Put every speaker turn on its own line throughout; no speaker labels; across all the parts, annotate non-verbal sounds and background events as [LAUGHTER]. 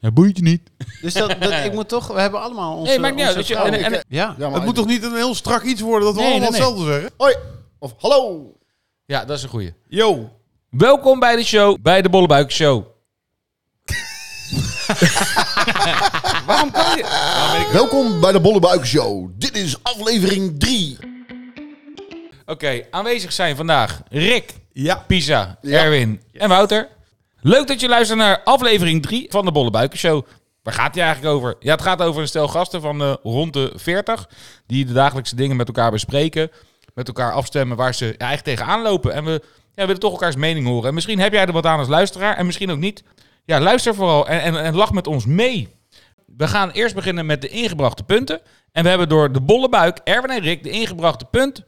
Ja, boeit je niet.
Dus dat, dat,
[LAUGHS]
ik moet toch... We hebben allemaal onze...
Nee, maakt niet uit.
onze
Weet je, en-
vrouwen.
en-
ja.
Ja, maar
het moet toch niet een heel strak iets worden dat we
Nee,
allemaal
nee, nee.
hetzelfde zeggen?
Hoi! Of hallo!
Ja, dat is een goeie.
Yo,
Welkom bij de show, bij de Bollebuik Show. Waarom kan je...
Welkom bij de Bollebuik Show. Dit is aflevering 3.
Oké, aanwezig zijn vandaag Rick,
Ja.
Pisa,
Ja.
Erwin en Wouter. Leuk dat je luistert naar aflevering 3 van de Bolle Buiken Show. Waar gaat die eigenlijk over? Ja, het gaat over een stel gasten van eh, rond de 40 die de dagelijkse dingen met elkaar bespreken, met elkaar afstemmen waar ze ja, echt tegenaan lopen. En we ja, willen toch elkaars mening horen. En misschien heb jij er wat aan als luisteraar en misschien ook niet. Ja, luister vooral en, en, en lach met ons mee. We gaan eerst beginnen met de ingebrachte punten. En we hebben door de Bolle Buik, Erwin en Rick, de ingebrachte punt.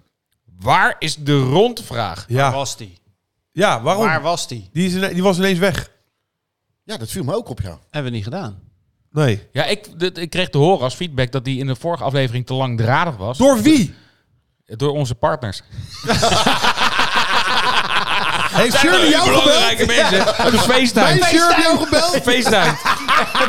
Waar is de rondvraag?
Waar
Ja, Oh.
was die?
ja waarom?
Waar was die?
Die, is ine- die was ineens weg.
Ja, dat viel me ook op, ja.
Hebben we niet gedaan.
Nee.
Ja, ik, dit- ik kreeg te horen als feedback dat die in de vorige aflevering te langdradig was. Door,
Door wie?
onze partners.
Heeft Shirley jou gebeld?
mensen. Een
Heeft
feesttuin.
Shirley jou gebeld?
Feesttuin.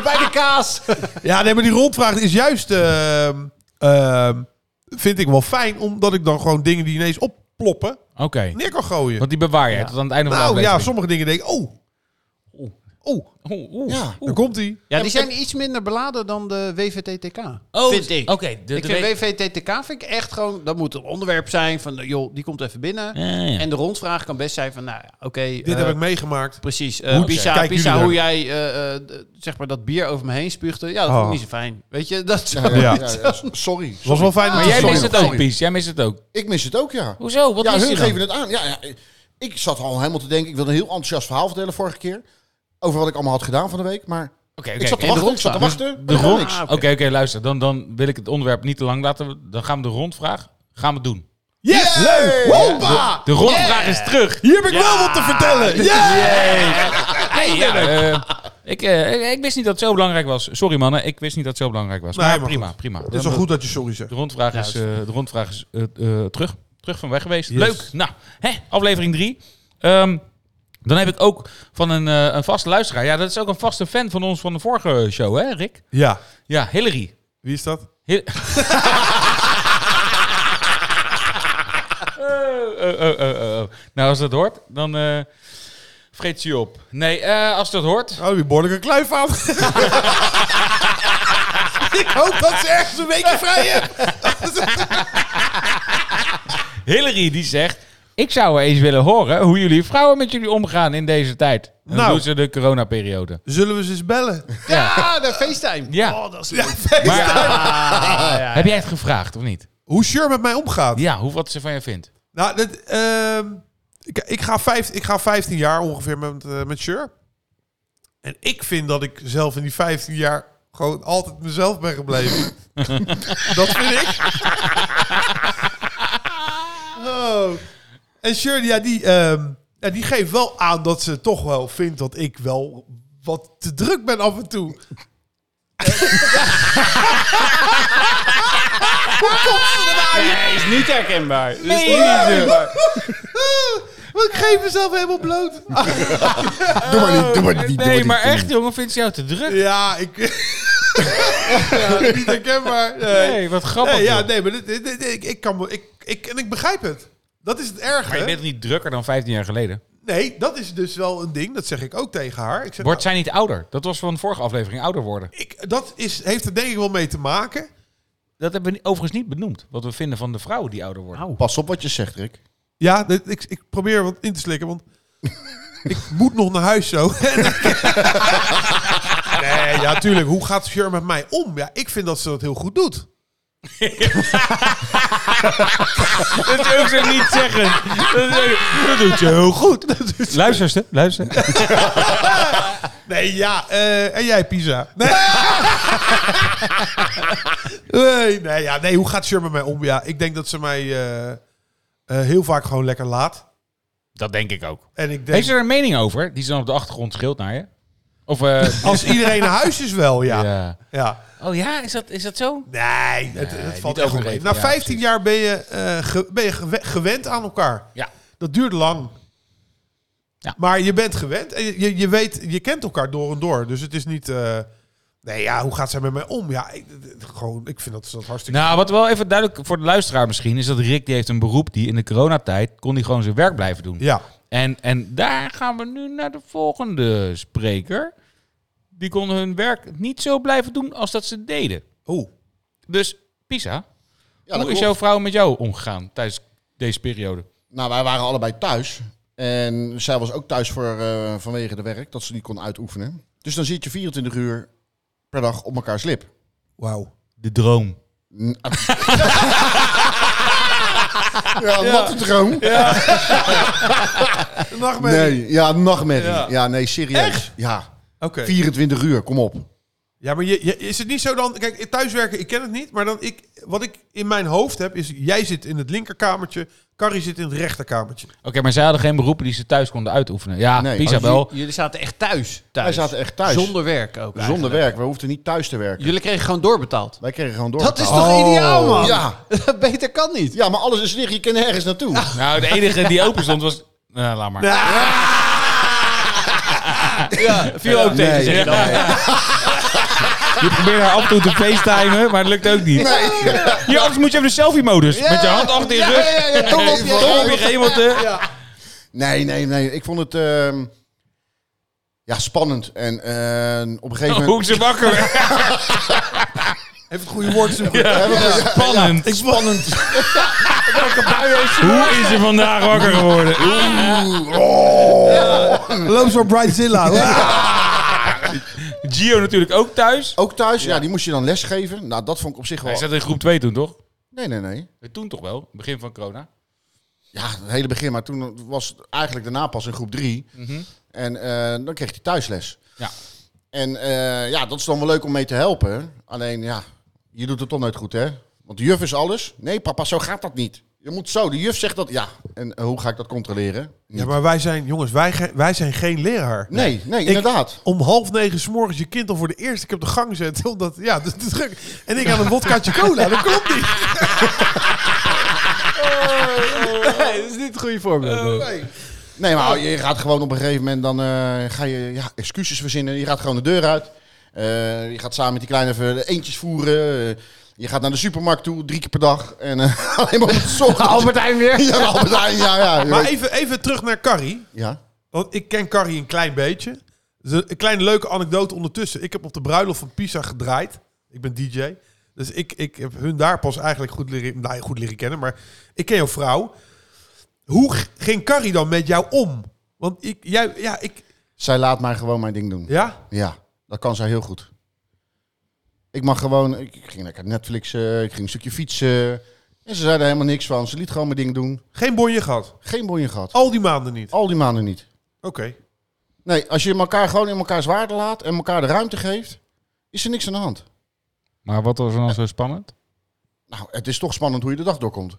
Bij de kaas!
[LAUGHS] Ja, nee, maar die rondvraag is juist... ehm, ehm, vind ik wel fijn, omdat ik dan gewoon dingen die ineens opploppen
Oké.
neer kan gooien.
Want die bewaar je tot aan het einde van
nou
de
ja,
aflevering.
sommige dingen denk ik... Oh, oh,
Oeh, oeh.
Ja.
daar komt hij.
Ja, die zijn iets minder beladen dan de WVTTK.
Oh,
vind ik.
Oké. de-
ik
de
vind
we-
WVTTK vind ik echt gewoon... Dat moet een onderwerp zijn van... joh, die komt even binnen.
Ja, ja.
En de rondvraag kan best zijn van... Nou, ja, oké...
Dit
eh,
heb ik meegemaakt.
Precies. Eh,
Hoe
Pisa,
kijken
Pisa,
jullie
hoe jij eh, eh, d- zeg maar dat bier over me heen spuugde. Ja, dat vond
Oh.
ik niet zo fijn. Weet je, dat
Ja,
[LAUGHS]
ja,
Ja.
ja, ja. Sorry. sorry.
was wel fijn.
Maar
dat je
jij
sorry
mist
nog-
het ook,
sorry.
Pies. Jij mist het ook.
Ik mis het ook, ja.
Hoezo? Wat
ja,
mist
hun
hij dan?
geven het aan. Ja, ja, ik zat al helemaal te denken, ik wilde een heel enthousiast verhaal vertellen vorige keer. Over wat ik allemaal had gedaan van de week. Maar
Oké,
ik zat
en
oké.
te
de
wachten, ik zat
rondvraag.
te wachten.
De
maar er kwam
rond...
niks.
Oké,
Ah,
oké,
oké.
luister. Dan, dan wil ik het onderwerp niet te lang laten. Dan gaan we de rondvraag gaan we doen.
Yes, leuk! Hoppa!
De rondvraag is terug.
Hier heb ik wel wat te vertellen! Ja!
Nee, ja, eh, [LAUGHS] ik, eh, ik- ik wist niet dat het zo belangrijk was. Sorry mannen, ik wist niet dat het zo belangrijk was.
Nee,
maar,
maar
prima,
goed.
prima. eh,
Het is wel goed dat je sorry zegt.
De rondvraag is, eh, de rondvraag is eh, eh, terug. Terug van weg geweest.
Yes.
Leuk. Nou, hè, aflevering 3. dan heb ik ook van een, eh, een vaste luisteraar. Ja, dat is ook een vaste fan van ons van de vorige show, hè, Rick?
Ja.
Ja, Hillary.
Wie is dat?
Hil- oh, oh, oh, oh, oh. Nou, als dat hoort, dan eh vreet ze je op. Nee, eh, als dat hoort,
Oh, die behoorlijke kluif aan. [LAUGHS] ik hoop dat ze ergens een weekje vrij hebben.
Hillary die zegt... Ik zou eens willen horen hoe jullie vrouwen met jullie omgaan in deze tijd. En dan
Nou.
doen ze de coronaperiode.
Zullen we ze eens bellen?
Ja, de FaceTime.
[LAUGHS] Ja.
Oh, dat is
Ja,
leuk.
Maar
Ah, ja.
heb jij het gevraagd of niet?
Hoe Sure met mij omgaat.
Ja, hoe wat ze van je vindt.
Nou, dat, ehm, ik, ik, ga vijf, ik ga 15 jaar ongeveer met, eh, met Sure. En ik vind dat ik zelf in die 15 jaar gewoon altijd mezelf ben gebleven. dat vind ik. Oh. En Sure, ja, die, ehm, ja, die geeft wel aan dat ze toch wel vindt dat ik wel wat te druk ben af en toe.
Nee, is niet herkenbaar.
Nee,
[LAUGHS] Want ik geef mezelf helemaal bloot.
Doe maar niet, doe maar niet. doe maar
nee
niet,
maar
doe maar
echt jongen, vindt ze jou te druk?
Ja, ik... [LAUGHS] ja, niet herkenbaar. Nee.
Nee, wat grappig.
Nee, ja,
joh.
nee, maar dit, dit- dit- ik, ik kan me- ik, ik, en ik begrijp het. Dat is het
Maar je
erge.
bent toch niet drukker dan 15 jaar geleden?
Nee, dat is dus wel een ding. Dat zeg ik ook tegen haar. Ik zeg,
Wordt zij niet ouder? Dat was van de vorige aflevering, ouder worden.
nou, ik, dat is, heeft er denk ik wel mee te maken.
Dat hebben we ni- overigens niet benoemd. Wat we vinden van de vrouwen die ouder worden.
niet. Pas op wat je zegt, Rick.
Ja, dit- ik, ik probeer wat in te slikken, want [LAUGHS] ik moet nog naar huis zo. [LAUGHS] nee, ja, tuurlijk. Hoe gaat Sjur met mij om? Ja, ik vind dat ze dat heel goed doet.
Dat wil ik ze niet zeggen. [LAUGHS] Dat, doet je heel
[LAUGHS]
goed. Luisterste, luister.
Nee, ja. eh, en jij, Pisa? Nee.
[LAUGHS]
nee, nee, ja, nee, hoe gaat Sjur met mij om? Ja, ik denk dat ze mij eh, eh, heel vaak gewoon lekker laat.
Dat denk ik ook.
En ik denk,
Heeft ze er een mening over? Die ze dan op de achtergrond scheelt naar je? Of...
[LAUGHS]
eh,
als iedereen naar huis is wel, ja. ja.
[LAUGHS] ja. Oh ja, is dat, is dat zo?
Nee, het, het valt
niet
echt wel mee.
overdreven,
Na
ja,
15
precies.
jaar ben je, eh, ge- ben je gewe- gewend aan elkaar.
Ja.
Dat duurt lang.
Ja.
Maar je bent gewend. En je, je, je weet, je kent elkaar door en door. Dus het is niet... eh, nee, ja, hoe gaat zij met mij om? Ja, ik, gewoon, ik vind dat, dat hartstikke...
Nou, wat wel even duidelijk voor de luisteraar misschien... is dat Rick die heeft een beroep die in de coronatijd... kon hij gewoon zijn werk blijven doen.
Ja.
En, en daar gaan we nu naar de volgende spreker. Die konden hun werk niet zo blijven doen als dat ze deden.
Oeh.
Dus, Pisa,
Ja,
hoe
dat
is
klopt.
jouw vrouw met jou omgegaan tijdens deze periode?
Nou, wij waren allebei thuis. En zij was ook thuis voor, eh, vanwege de werk, dat ze niet kon uitoefenen. Dus dan zit je 24 uur per dag op elkaar slip.
Wauw.
De droom. Ah,
Ja, wat een droom.
Nachtmerrie.
Nee, ja, nachtmerrie.
Ja.
Ja, nee, serieus. Ja,
Oké.
24 uur, kom op.
Ja, maar je, je- is het niet zo dan... Kijk, thuiswerken, ik ken het niet. Maar dan ik, wat ik in mijn hoofd heb, is... Jij zit in het linkerkamertje. Carrie zit in het rechterkamertje.
Oké, maar zij hadden geen beroepen die ze thuis konden uitoefenen. Ja,
Nee.
Pisa
Oh,
wel.
Jullie zaten echt thuis. thuis.
Wij zaten echt thuis. Zonder,
Zonder werk ook.
Zonder
eigenlijk.
werk, we hoefden niet thuis te werken.
Jullie kregen gewoon doorbetaald. Oh.
Wij kregen gewoon door. Oh.
Dat is toch ideaal, man?
Ja.
[LAUGHS] Beter kan niet.
ja, maar alles is liggen, je kan nergens naartoe.
[LAUGHS]
Nou, de enige die open stond was... Nou, laat maar. Ja, viel ook tegen.
Nee,
zeg. [LAUGHS] Je probeerde haar af en toe te facetimen, maar dat lukt ook niet. Hier, anders moet je even de selfie-modus. Met je hand achter je rug.
ja, ja, kom op, ja.
Toch op je eh, gehemelte.
Nee, nee, nee. Ik vond het ehm, ja, spannend. En ehm, op een gegeven moment...
[LAUGHS] Hoe ze wakker werd.
Even het goede woord [LAUGHS] zoeken.
Spannend.
Ik spannend.
Hoe is ze vandaag wakker geworden?
Loop zo Brightzilla.
Gio natuurlijk ook thuis.
Ook thuis, ja. die moest je dan lesgeven. Nou, dat vond ik op zich wel...
Hij zat in groep 2 toen, toch? Eh,
Nee, nee, nee.
Toen toch wel, begin van corona.
Ja, het hele begin. Maar toen was het eigenlijk daarna pas in groep drie. En eh, dan kreeg hij thuisles.
Ja.
En eh, ja, dat is dan wel leuk om mee te helpen. Alleen ja, je doet het toch nooit goed, hè? Want de juf is alles. Nee, papa, zo gaat dat niet. Je moet zo. De juf zegt dat. Ja, en eh, hoe ga ik dat controleren?
Ja, maar wij zijn, jongens, wij, ge- wij zijn geen leraar.
Nee, nee, inderdaad.
Om half negen s morgens je kind al voor de eerste keer op de gang zetten. Omdat, ja, dat is gek. En ik aan een vodkaatje cola, dat klopt niet.
Nee, dat is niet het goede voorbeeld.
Oh,
Nee, maar je gaat gewoon op een gegeven moment dan eh, ga je ja, excuses verzinnen. Je gaat gewoon de deur uit. Eh, je gaat samen met die kleine even de eentjes voeren. Eh, je gaat naar de supermarkt toe, drie keer per dag. En eh, [LAUGHS] alleen maar op het zondag.
Albert Heijn weer.
Ja, de Albert Heijn, ja, ja. Je
Maar
weet-
even, even terug naar Carrie.
ja.
Want ik ken Carrie een klein beetje. Dus een- een kleine leuke anekdote ondertussen. Ik heb op de bruiloft van Pisa gedraaid. Ik ben DJ. Dus ik, ik heb hun daar pas eigenlijk goed leren, nou, goed leren kennen. Maar ik ken jouw vrouw. Hoe g- ging Carrie dan met jou om? Want ik, jij, ja, ik,
Zij laat mij gewoon mijn ding doen. Ja.
ja.
dat kan zij heel goed. Ik mag gewoon... Ik ik ging lekker Netflixen, ik ging een stukje fietsen. En ze zei er helemaal niks van. Ze liet gewoon mijn ding doen.
Geen bonje gehad.
Geen boeien gehad.
Al die maanden niet.
Al die maanden niet.
Oké.
Nee, als je elkaar gewoon in elkaars waarde laat en elkaar de ruimte geeft, is er niks aan de hand.
Maar wat was er dan zo spannend?
Nou, het is toch spannend hoe je de dag doorkomt.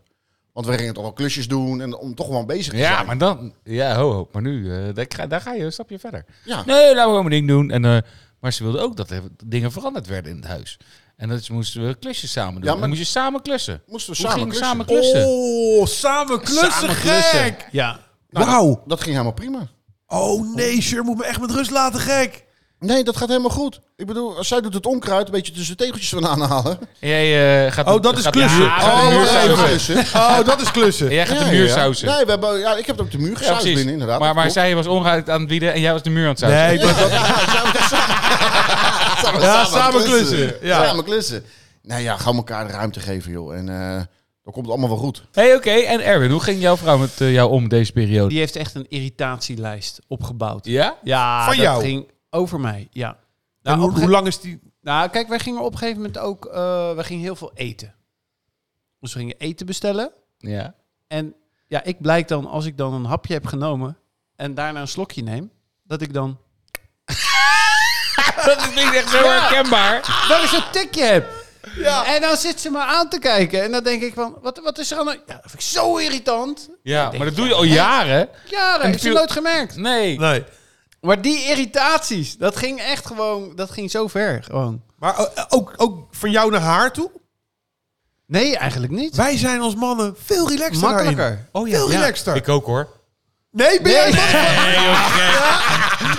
Want we gingen toch wel klusjes doen en om toch wel bezig te zijn.
Ja, maar dan... Ja, ho, ho. Maar nu, eh, daar, ga, daar ga je een stapje verder.
Ja.
[LAUGHS] Nee, laten we gewoon mijn ding doen. En, eh, maar ze wilde ook dat er dingen veranderd werden in het huis. En dat ze moesten we klusjes samen doen.
Ja, maar-
Dan moest je samen klussen.
Moesten we
Hoe
samen
ging
klussen.
samen klussen?
Oh, samen klussen,
Samen klussen.
gek!
Ja.
Nou,
Wauw.
Dat ging helemaal prima.
Oh nee, Sher moet me echt met rust laten,
[LAUGHS]
gek!
Nee, dat gaat helemaal goed. Ik bedoel, als zij doet het onkruid, een beetje tussen de tegeltjes van aanhalen.
En Jij eh gaat
Oh, dat is
gaat-
klussen.
Ja, gaat
Oh,
de muur
wacht
sausen.
even.
klussen.
Oh, dat is klussen.
Jij gaat
Ja,
de
ja.
muur sausen.
Nee, we hebben, ja, ik heb het op de muur
Ja,
gesausd
precies.
binnen, inderdaad.
Maar, maar
Dat klopt.
zij was onruit aan het bieden en jij was de muur aan het sausen.
Nee, maar dat,
Samen-
Ja, samen klussen. Ja.
Samen klussen. Nee, ja, gewoon elkaar de ruimte geven, joh. En eh dan komt het allemaal wel goed.
hey, oké. En Erwin, hoe ging jouw vrouw met eh, jou om deze periode?
Die heeft echt een irritatielijst opgebouwd.
Ja?
Ja,
Van
dat
jou?
ging over mij. Ja.
En
Nou,
hoe,
op een
hoe
ge-
lang is die...
nou, kijk, wij gingen op een gegeven moment ook... eh wij gingen heel veel eten. Dus we gingen eten bestellen.
Ja.
En ja, ik blijk dan, als ik dan een hapje heb genomen... en daarna een slokje neem, dat ik dan...
Dat is niet echt zo herkenbaar.
dat ik zo'n tikje heb. En dan zit ze me aan te kijken. En dan denk ik van, wat, wat is er aan de... Ja, dat vind ik zo irritant.
Ja, maar dat doe je al jaren.
Ja, dat
En
heb je
viel-
nooit gemerkt.
Nee.
Nee.
Maar die irritaties, dat ging echt gewoon... Dat ging zo ver, gewoon.
Maar o- ook, ook van jou naar haar toe?
Nee, eigenlijk niet.
Wij zijn als mannen veel relaxter daarin.
Makkelijker.
Veel relaxter.
Ik ook hoor.
Nee, ben jij dat?
Nee, joh, gek.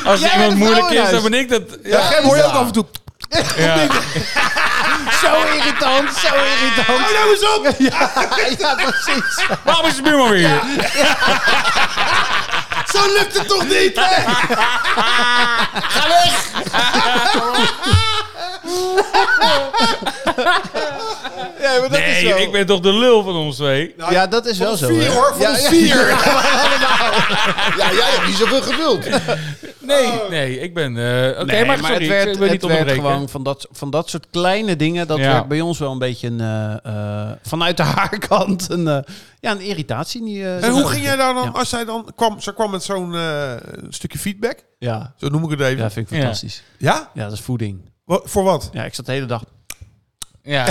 Als
Jij bent
iemand
het
moeilijk is, dan
vrouwenhuis.
ben ik dat.
Ja, Gem, hoor je ook
ja.
af en toe.
Ja.
Zo irritant, zo irritant.
Hou nou eens op!
[LAUGHS] Ja, precies.
Waarom is de buurman weer hier?
Zo lukt het toch niet? hè?
Ja, maar dat is
Nee,
zo.
ik ben toch de lul van ons twee.
Ja, dat is wel zo.
Vier
hè?
hoor,
Ja,
Nou, van
ja. [LAUGHS]
vier.
Ja, jij hebt niet zoveel geduld.
Nee, nee, ik ben... eh, Oké,
Nee,
maar, sorry,
het werd,
ik wil
het
niet
werd
onderbreken.
gewoon van dat, van dat soort kleine dingen. Dat
Ja.
werd bij ons wel een beetje een, eh, eh, vanuit de [LAUGHS] haarkant een, eh, ja, een irritatie. Die, eh,
En hoe ging jij daar dan,
Ja.
als zij dan kwam, ze kwam met zo'n eh, stukje feedback,
Ja.
zo noem ik het even.
ja,
Ja?
vind ik
Ja.
fantastisch. Ja. dat is voeding.
Wa- voor wat?
Ja, ik zat de hele dag... [LAUGHS]
Ja.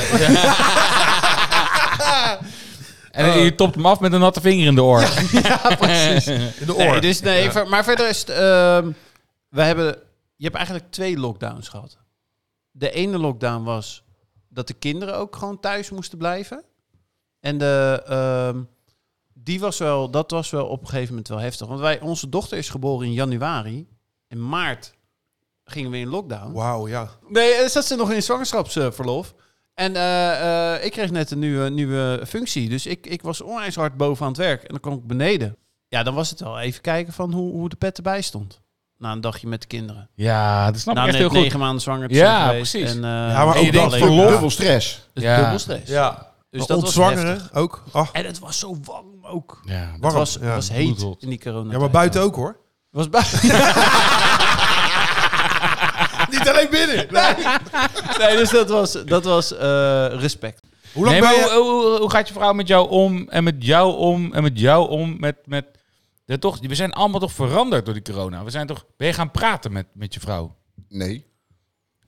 [LAUGHS] en je topt hem af met een natte vinger in de oor.
[LAUGHS]
Ja, precies.
In de oor.
Nee, dus nee, ver- maar verder is het... ehm, we hebben, je hebt eigenlijk twee lockdowns gehad. De ene lockdown was dat de kinderen ook gewoon thuis moesten blijven. En de, ehm, die was wel, dat was wel op een gegeven moment wel heftig. Want wij, onze dochter is geboren in januari. In maart gingen we in lockdown.
Wauw, ja.
Nee, eh, zat ze nog in zwangerschapsverlof. En eh, eh, ik kreeg net een nieuwe, nieuwe functie. Dus ik, ik was onwijs hard boven aan het werk. En dan kwam ik beneden. Ja, dan was het wel even kijken van hoe, hoe de pet erbij stond. Na een dagje met de kinderen.
Ja, dat snap
Na Nou,
ik echt
net
heel goed.
negen maanden zwanger te
Ja,
zijn geweest.
precies.
En, eh,
Ja, maar
en
ook
je
dat
denkt,
verlof.
dubbel,
Dubbel stress.
het is
Ja.
dubbel stress.
Ja.
Dus
Maar
dat was heftig.
ontzwangeren ook. Ach,
En het was zo warm ook.
Ja.
Het
warm.
was,
ja.
was heet
bloedrot.
in die corona.
ja, maar buiten ook hoor. [LAUGHS]
Was buiten.
Niet alleen binnen. Nee.
[LAUGHS] nee, dus dat was, dat was eh, respect.
Hoe lang
Nee,
ben
maar
je?
hoe, hoe, hoe gaat je vrouw met jou om en met jou om en met jou om met... met ja, toch, we zijn allemaal toch veranderd door die corona. We zijn toch... Ben je gaan praten met, met je vrouw?
Nee.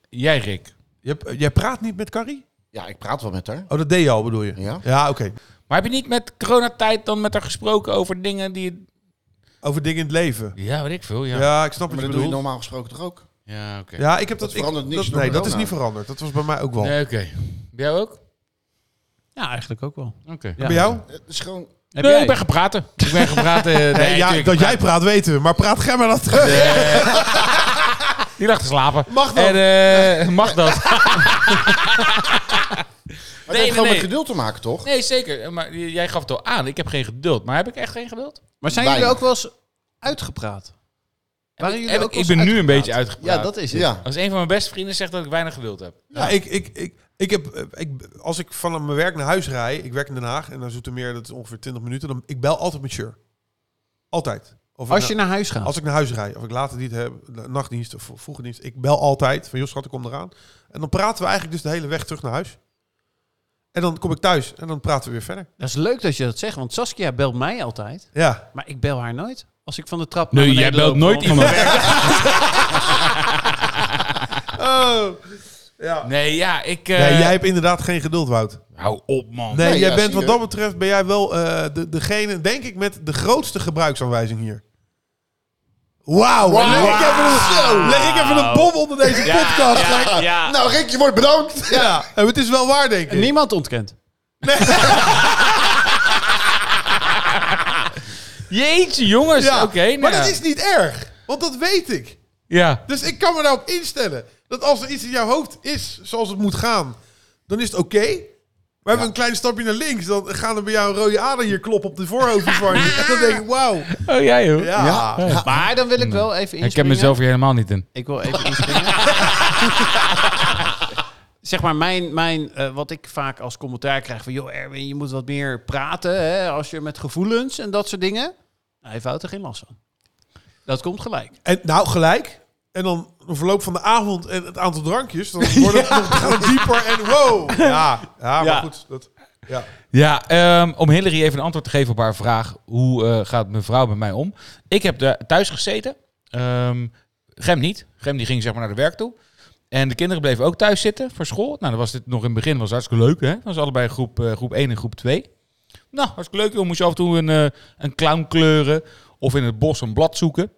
Jij, Rick.
Je- Jij praat niet met Carrie?
Ja, ik praat wel met haar.
Oh, dat deed je al, bedoel je?
Ja.
oké.
Maar heb je niet met coronatijd dan met haar gesproken over dingen die... je-
Over dingen in het leven.
Ja, weet ik veel,
Ja,
ja.
ik snap
Maar
wat je
dat doe je
bedoelt.
normaal gesproken toch ook?
Ja, oké.
Ja, ik heb dat...
Dat verandert
ik,
niks
dat-
door
nee, dat is
corona.
niet veranderd. Dat was bij mij ook wel.
Nee, oké. Bij jou ook?
Ja, eigenlijk ook wel.
Oké.
Ja.
Bij jou?
Het is gewoon...
Heb
nee,
jij?
ik ben gepraten. Ik ben gepraten. eh, nee,
Nee, ja,
tuurlijk,
dat
ik
jij praat weten we, maar praat jij maar dat terug.
praat. Die lag te slapen.
Mag dat?
En, eh, mag dat?
Maar
Nee,
het heeft gewoon
nee.
met geduld te maken, toch?
Nee, zeker. Eh, Maar j- jij gaf het al aan. Ik heb geen geduld. Maar heb ik echt geen geduld?
Maar zijn
Weinig.
jullie ook wel eens uitgepraat? Waren jullie
Heb
ook
ik,
wel
ik
eens
ben nu een
uitgepraat?
beetje uitgepraat.
Ja, dat is het.
Ja.
Als een van mijn beste vrienden zegt dat ik weinig geduld heb.
[LAUGHS] Ja, ik, ik, ik, ik heb, eh, ik, als ik van mijn werk naar huis rijd, ik werk in Den Haag en naar Zoetermeer, dat is ongeveer 20 minuten, dan ik bel altijd met Sjur. Altijd. Of
Als
ik
je naar huis gaat.
na- als ik naar huis rijd, of ik later niet heb, na- nachtdienst of vroege dienst, ik bel altijd van, joh schat, ik kom eraan. En dan praten we eigenlijk dus de hele weg terug naar huis. En dan kom ik thuis en dan praten we weer verder.
Dat is leuk dat je dat zegt, want Saskia belt mij altijd,
Ja.
maar ik bel haar nooit. Als ik van de trap
Nee,
naar
jij
beneden loop,
belt nooit
van- van
iemand.
Oh. Ja.
[LAUGHS] Nee, ja, ik... eh,
Nee, jij hebt inderdaad geen geduld, Wout.
Hou op, man.
Nee,
Nee,
jij
ja,
bent
zie
wat
je.
dat betreft ben jij wel eh, de, degene, denk ik, met de grootste gebruiksaanwijzing hier. Wauw!
Wauw.
Leg, ik even een-
Zo.
leg ik even een bom onder deze podcast. Ja,
Ja, ja.
Nou, Rick, je wordt bedankt.
en het is wel waar, denk ik.
Niemand ontkent.
Jeetje, jongens.
Ja.
Oké, nou
maar
ja.
dat is niet erg, want dat weet ik.
Ja.
Dus ik kan me daarop instellen dat als er iets in jouw hoofd is zoals het moet gaan, dan is het oké. We hebben een klein stapje naar links, dan gaan er bij jou een rode ader hier kloppen op de voorhoofd van
[LAUGHS]
je. En dan denk ik, wauw.
Oh, jij, joh.
Ja.
Dus Maar dan wil ik wel even inspringen.
Ik heb mezelf hier helemaal niet in.
Ik wil even inspringen. [LAUGHS] zeg maar, mijn, mijn, eh, wat ik vaak als commentaar krijg van... joh, Erwin, je moet wat meer praten hè, als je met gevoelens en dat soort dingen. Nou, hij houdt er geen last van. Dat komt gelijk.
En, nou, gelijk. En dan de verloop van de avond en het aantal drankjes. [LAUGHS] Dan wordt het, nog gaat het dieper en wow. Ja, ja maar
Ja.
goed. Dat, ja.
Ja, ehm, om Hillary even een antwoord te geven op haar vraag. Hoe eh, gaat mijn vrouw met mij om? Ik heb daar thuis gezeten. Ehm, Gem niet. Gem die ging zeg maar naar de werk toe. En de kinderen bleven ook thuis zitten voor school. Nou, dan was dit nog in het begin was hartstikke leuk. Hè? Dat was allebei groep, eh, groep 1 en groep 2. Nou, hartstikke leuk. Joh. Moest je af en toe een, eh, een clown kleuren. Of in het bos een blad zoeken.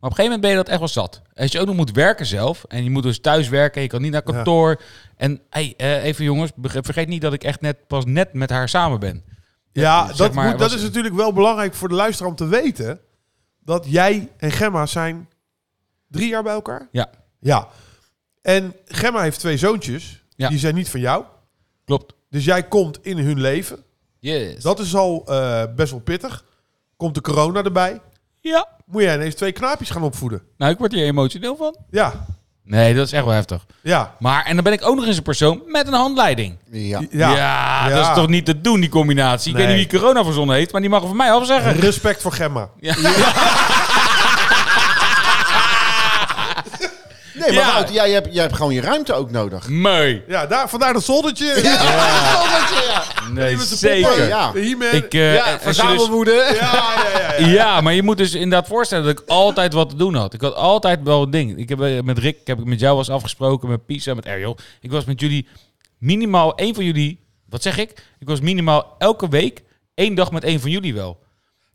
Maar op een gegeven moment ben je dat echt wel zat. Als je ook nog moet werken zelf. En je moet dus thuis werken. Je kan niet naar
Ja.
kantoor. En hey, eh, even jongens, beg- vergeet niet dat ik echt net pas net met haar samen ben.
Ja,
zeg
dat,
maar,
moet, dat
was-
is natuurlijk wel belangrijk voor de luisteraar om te weten. Dat jij en Gemma zijn drie jaar bij elkaar.
Ja.
Ja. En Gemma heeft twee zoontjes.
Ja.
Die zijn niet van jou.
Klopt.
Dus jij komt in hun leven.
Yes.
Dat is al eh, best wel pittig. Komt de corona erbij.
Ja.
Moet jij ineens twee knaapjes gaan opvoeden.
Nou, ik word hier emotioneel van.
Ja.
Nee, dat is echt wel heftig.
Ja.
Maar, en dan ben ik ook nog eens een persoon met een handleiding.
Ja.
Ja. Ja.
dat is toch niet te doen, die combinatie. Ik
Nee.
weet niet wie corona verzonnen heeft, maar die mag er van mij afzeggen.
Respect voor Gemma.
Nee, maar
Ja.
Wout, jij hebt, jij hebt gewoon je ruimte ook nodig.
Mooi.
Ja, daar, vandaar dat zoldertje.
[LAUGHS]
Nee,
met de
zeker.
popper.
Ja,
Ja.
De He-Man.
ik, eh,
ja,
als je dus-
verzamelwoede.
Ja, ja,
[LAUGHS]
ja, ja.
Ja, maar je moet dus inderdaad voorstellen dat ik altijd wat te doen had. Ik had altijd wel een ding. Ik heb eh, met Rick, ik heb ik met jou was afgesproken, met Pisa, met Ariel. Ik was met jullie minimaal één van jullie. Wat zeg ik? Ik was minimaal elke week één dag met één van jullie wel.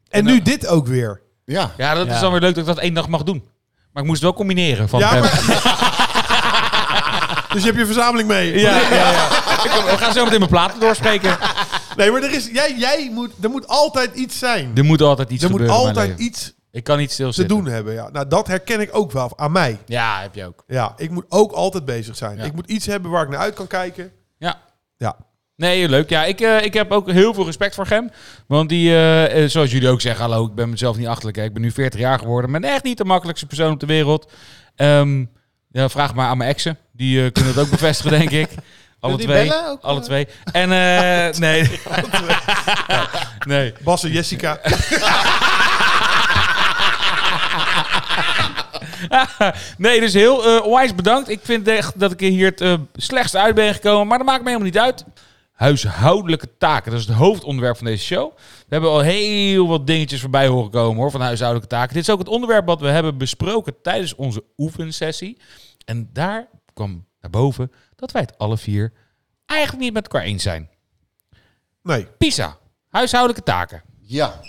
En nu dit ook weer.
Ja.
Ja, dat is
Ja.
dan weer leuk dat ik dat één dag mag doen. Maar ik moest het wel combineren. Van
Ja,
eh,
maar- [LAUGHS] Dus je hebt je verzameling mee.
ja, ja, ja. Ik kom- we gaan zo meteen mijn platen doorspreken.
Nee, maar er, is, jij, jij moet, er moet altijd iets zijn.
Er moet altijd iets
er moet
gebeuren in mijn
altijd
leven.
iets
Ik kan niet
te
stilzitten.
doen hebben. Ja. Nou, dat herken ik ook wel aan mij.
Ja, heb je ook.
Ja, ik moet ook altijd bezig zijn.
Ja.
Ik moet iets hebben waar ik naar uit kan kijken.
Ja.
Ja.
Nee, leuk. Ja, ik, eh, ik heb ook heel veel respect voor Gem. Want die, eh, eh, zoals jullie ook zeggen, hallo, ik ben mezelf niet achterlijk. Hè. Ik ben nu 40 jaar geworden. Ik ben echt niet de makkelijkste persoon op de wereld. Ehm, ja, vraag maar aan mijn exen. Die eh, kunnen het ook bevestigen, denk ik. Alle
die
twee.
bellen ook,
alle
eh?
twee. En eh, nee. nee.
Bas en Jessica. [LAUGHS]
[LAUGHS] nee, dus heel eh, onwijs bedankt. Ik vind echt dat ik hier het eh, slechtst uit ben gekomen. Maar dat maakt me helemaal niet uit. Huishoudelijke taken. Dat is het hoofdonderwerp van deze show. We hebben al heel wat dingetjes voorbij horen komen hoor, van huishoudelijke taken. Dit is ook het onderwerp wat we hebben besproken tijdens onze oefensessie. En daar kwam naar boven dat wij het alle vier eigenlijk niet met elkaar eens zijn.
Nee.
Pisa, huishoudelijke taken.
ja.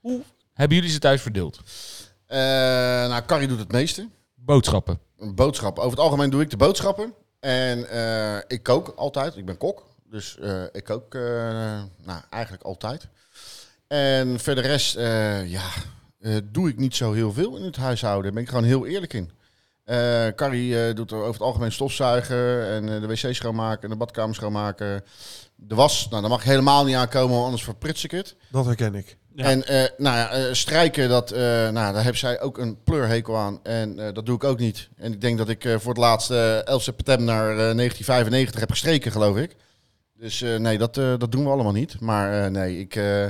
Hoe hebben jullie ze thuis verdeeld?
Eh, nou, Carrie doet het meeste.
Boodschappen.
Een boodschap. Over het algemeen doe ik de boodschappen. En eh, ik kook altijd. Ik ben kok. Dus eh, ik kook eh, nou, eigenlijk altijd. En voor de rest, eh, ja, eh, doe ik niet zo heel veel in het huishouden. Daar ben ik gewoon heel eerlijk in. Eh Carrie eh, doet er over het algemeen stofzuigen en eh, de wc schoonmaken en de badkamer schoonmaken. De was, nou, daar mag ik helemaal niet aankomen, want anders verprits ik het.
Dat herken ik.
Ja.
En eh, nou ja, eh, strijken, dat, eh, nou, daar heeft zij ook een pleurhekel aan. En eh, dat doe ik ook niet. En ik denk dat ik eh, voor het laatst eh, 11 september naar eh, 1995 heb gestreken, geloof ik. Dus eh, nee, dat, eh, dat doen we allemaal niet. Maar eh, nee, ik, eh,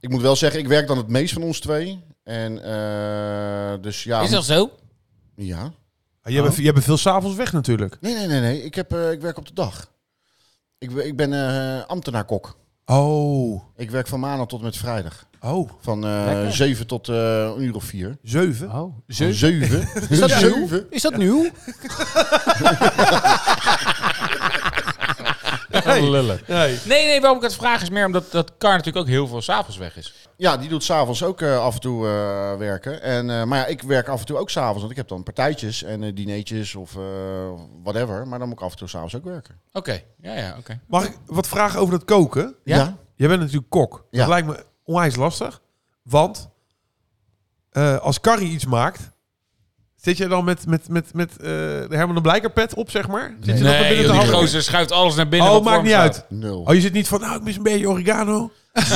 ik moet wel zeggen, ik werk dan het meest van ons twee. En eh, dus ja.
Is dat zo?
Ja.
Ah, Jij, bent, jij bent veel s'avonds weg natuurlijk.
Nee, nee, nee, nee. Ik, heb, eh, ik werk op de dag. Ik, ben- ik ben ambtenaar ambtenaarkok.
Oh.
Ik werk van maandag tot en met vrijdag.
Oh.
Van eh
Lekker.
7 tot eh, een uur of vier.
Zeven.
Oh,
Zeven.
zeus.
[LAUGHS] Zeven.
Is dat nieuw? Is dat nieuw?
[LAUGHS] Lullen.
Nee.
Nee, nee, waarom ik het vraag is meer omdat dat Kar natuurlijk ook heel veel s'avonds weg is.
Ja, die doet s'avonds ook eh, af en toe eh, werken. En, eh, maar ja, ik werk af en toe ook s'avonds. Want ik heb dan partijtjes en eh dineetjes of eh, whatever. Maar dan moet ik af en toe s'avonds ook werken.
Oké, ja, ja, oké.
Mag ik wat vragen over dat koken?
Ja?
Jij bent natuurlijk kok.
Ja.
Dat lijkt me onwijs lastig. Want eh, als Carrie iets maakt, zit jij dan met, met, met, met eh, de Herman de Blijkerpet op, zeg maar? Zit je dan
Nee,
binnen
joh,
te
die
hangen?
gozer schuift alles naar binnen.
Oh,
wat voor
maakt
hem
niet
staat.
uit.
Nul.
Oh, je zit niet van, nou, ik mis een beetje oregano. [LAUGHS]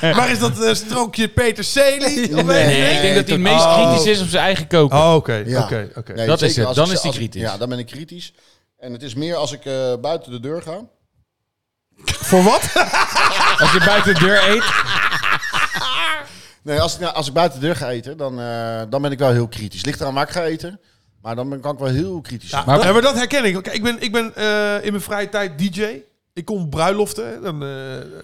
Nee.
Waar is dat eh, strookje peterselie? Of weet
Nee.
ik
Nee, ik denk dat hij het
tot-
meest
Oh.
kritisch is op zijn eigen koken.
Oh, oké,
Ja.
oké, oké.
Nee,
Dat is
zeker
het.
als
Dan
ik-
is die
als ik-
kritisch.
Ja, dan ben ik kritisch. En het is meer als ik eh, buiten de deur ga.
Voor wat?
Als je buiten de deur eet.
Nee, als ik, nou, als ik buiten de deur ga eten, dan, eh, dan ben ik wel heel kritisch. Ligt eraan waar ik ga eten. Maar dan ben, kan ik wel heel kritisch zijn.
Maar
Maar-
dat, ja, maar dat herken ik. Kijk, ik ben, ik ben eh, in mijn vrije tijd DJ. Ik kom op bruiloften. hè. Dan, eh,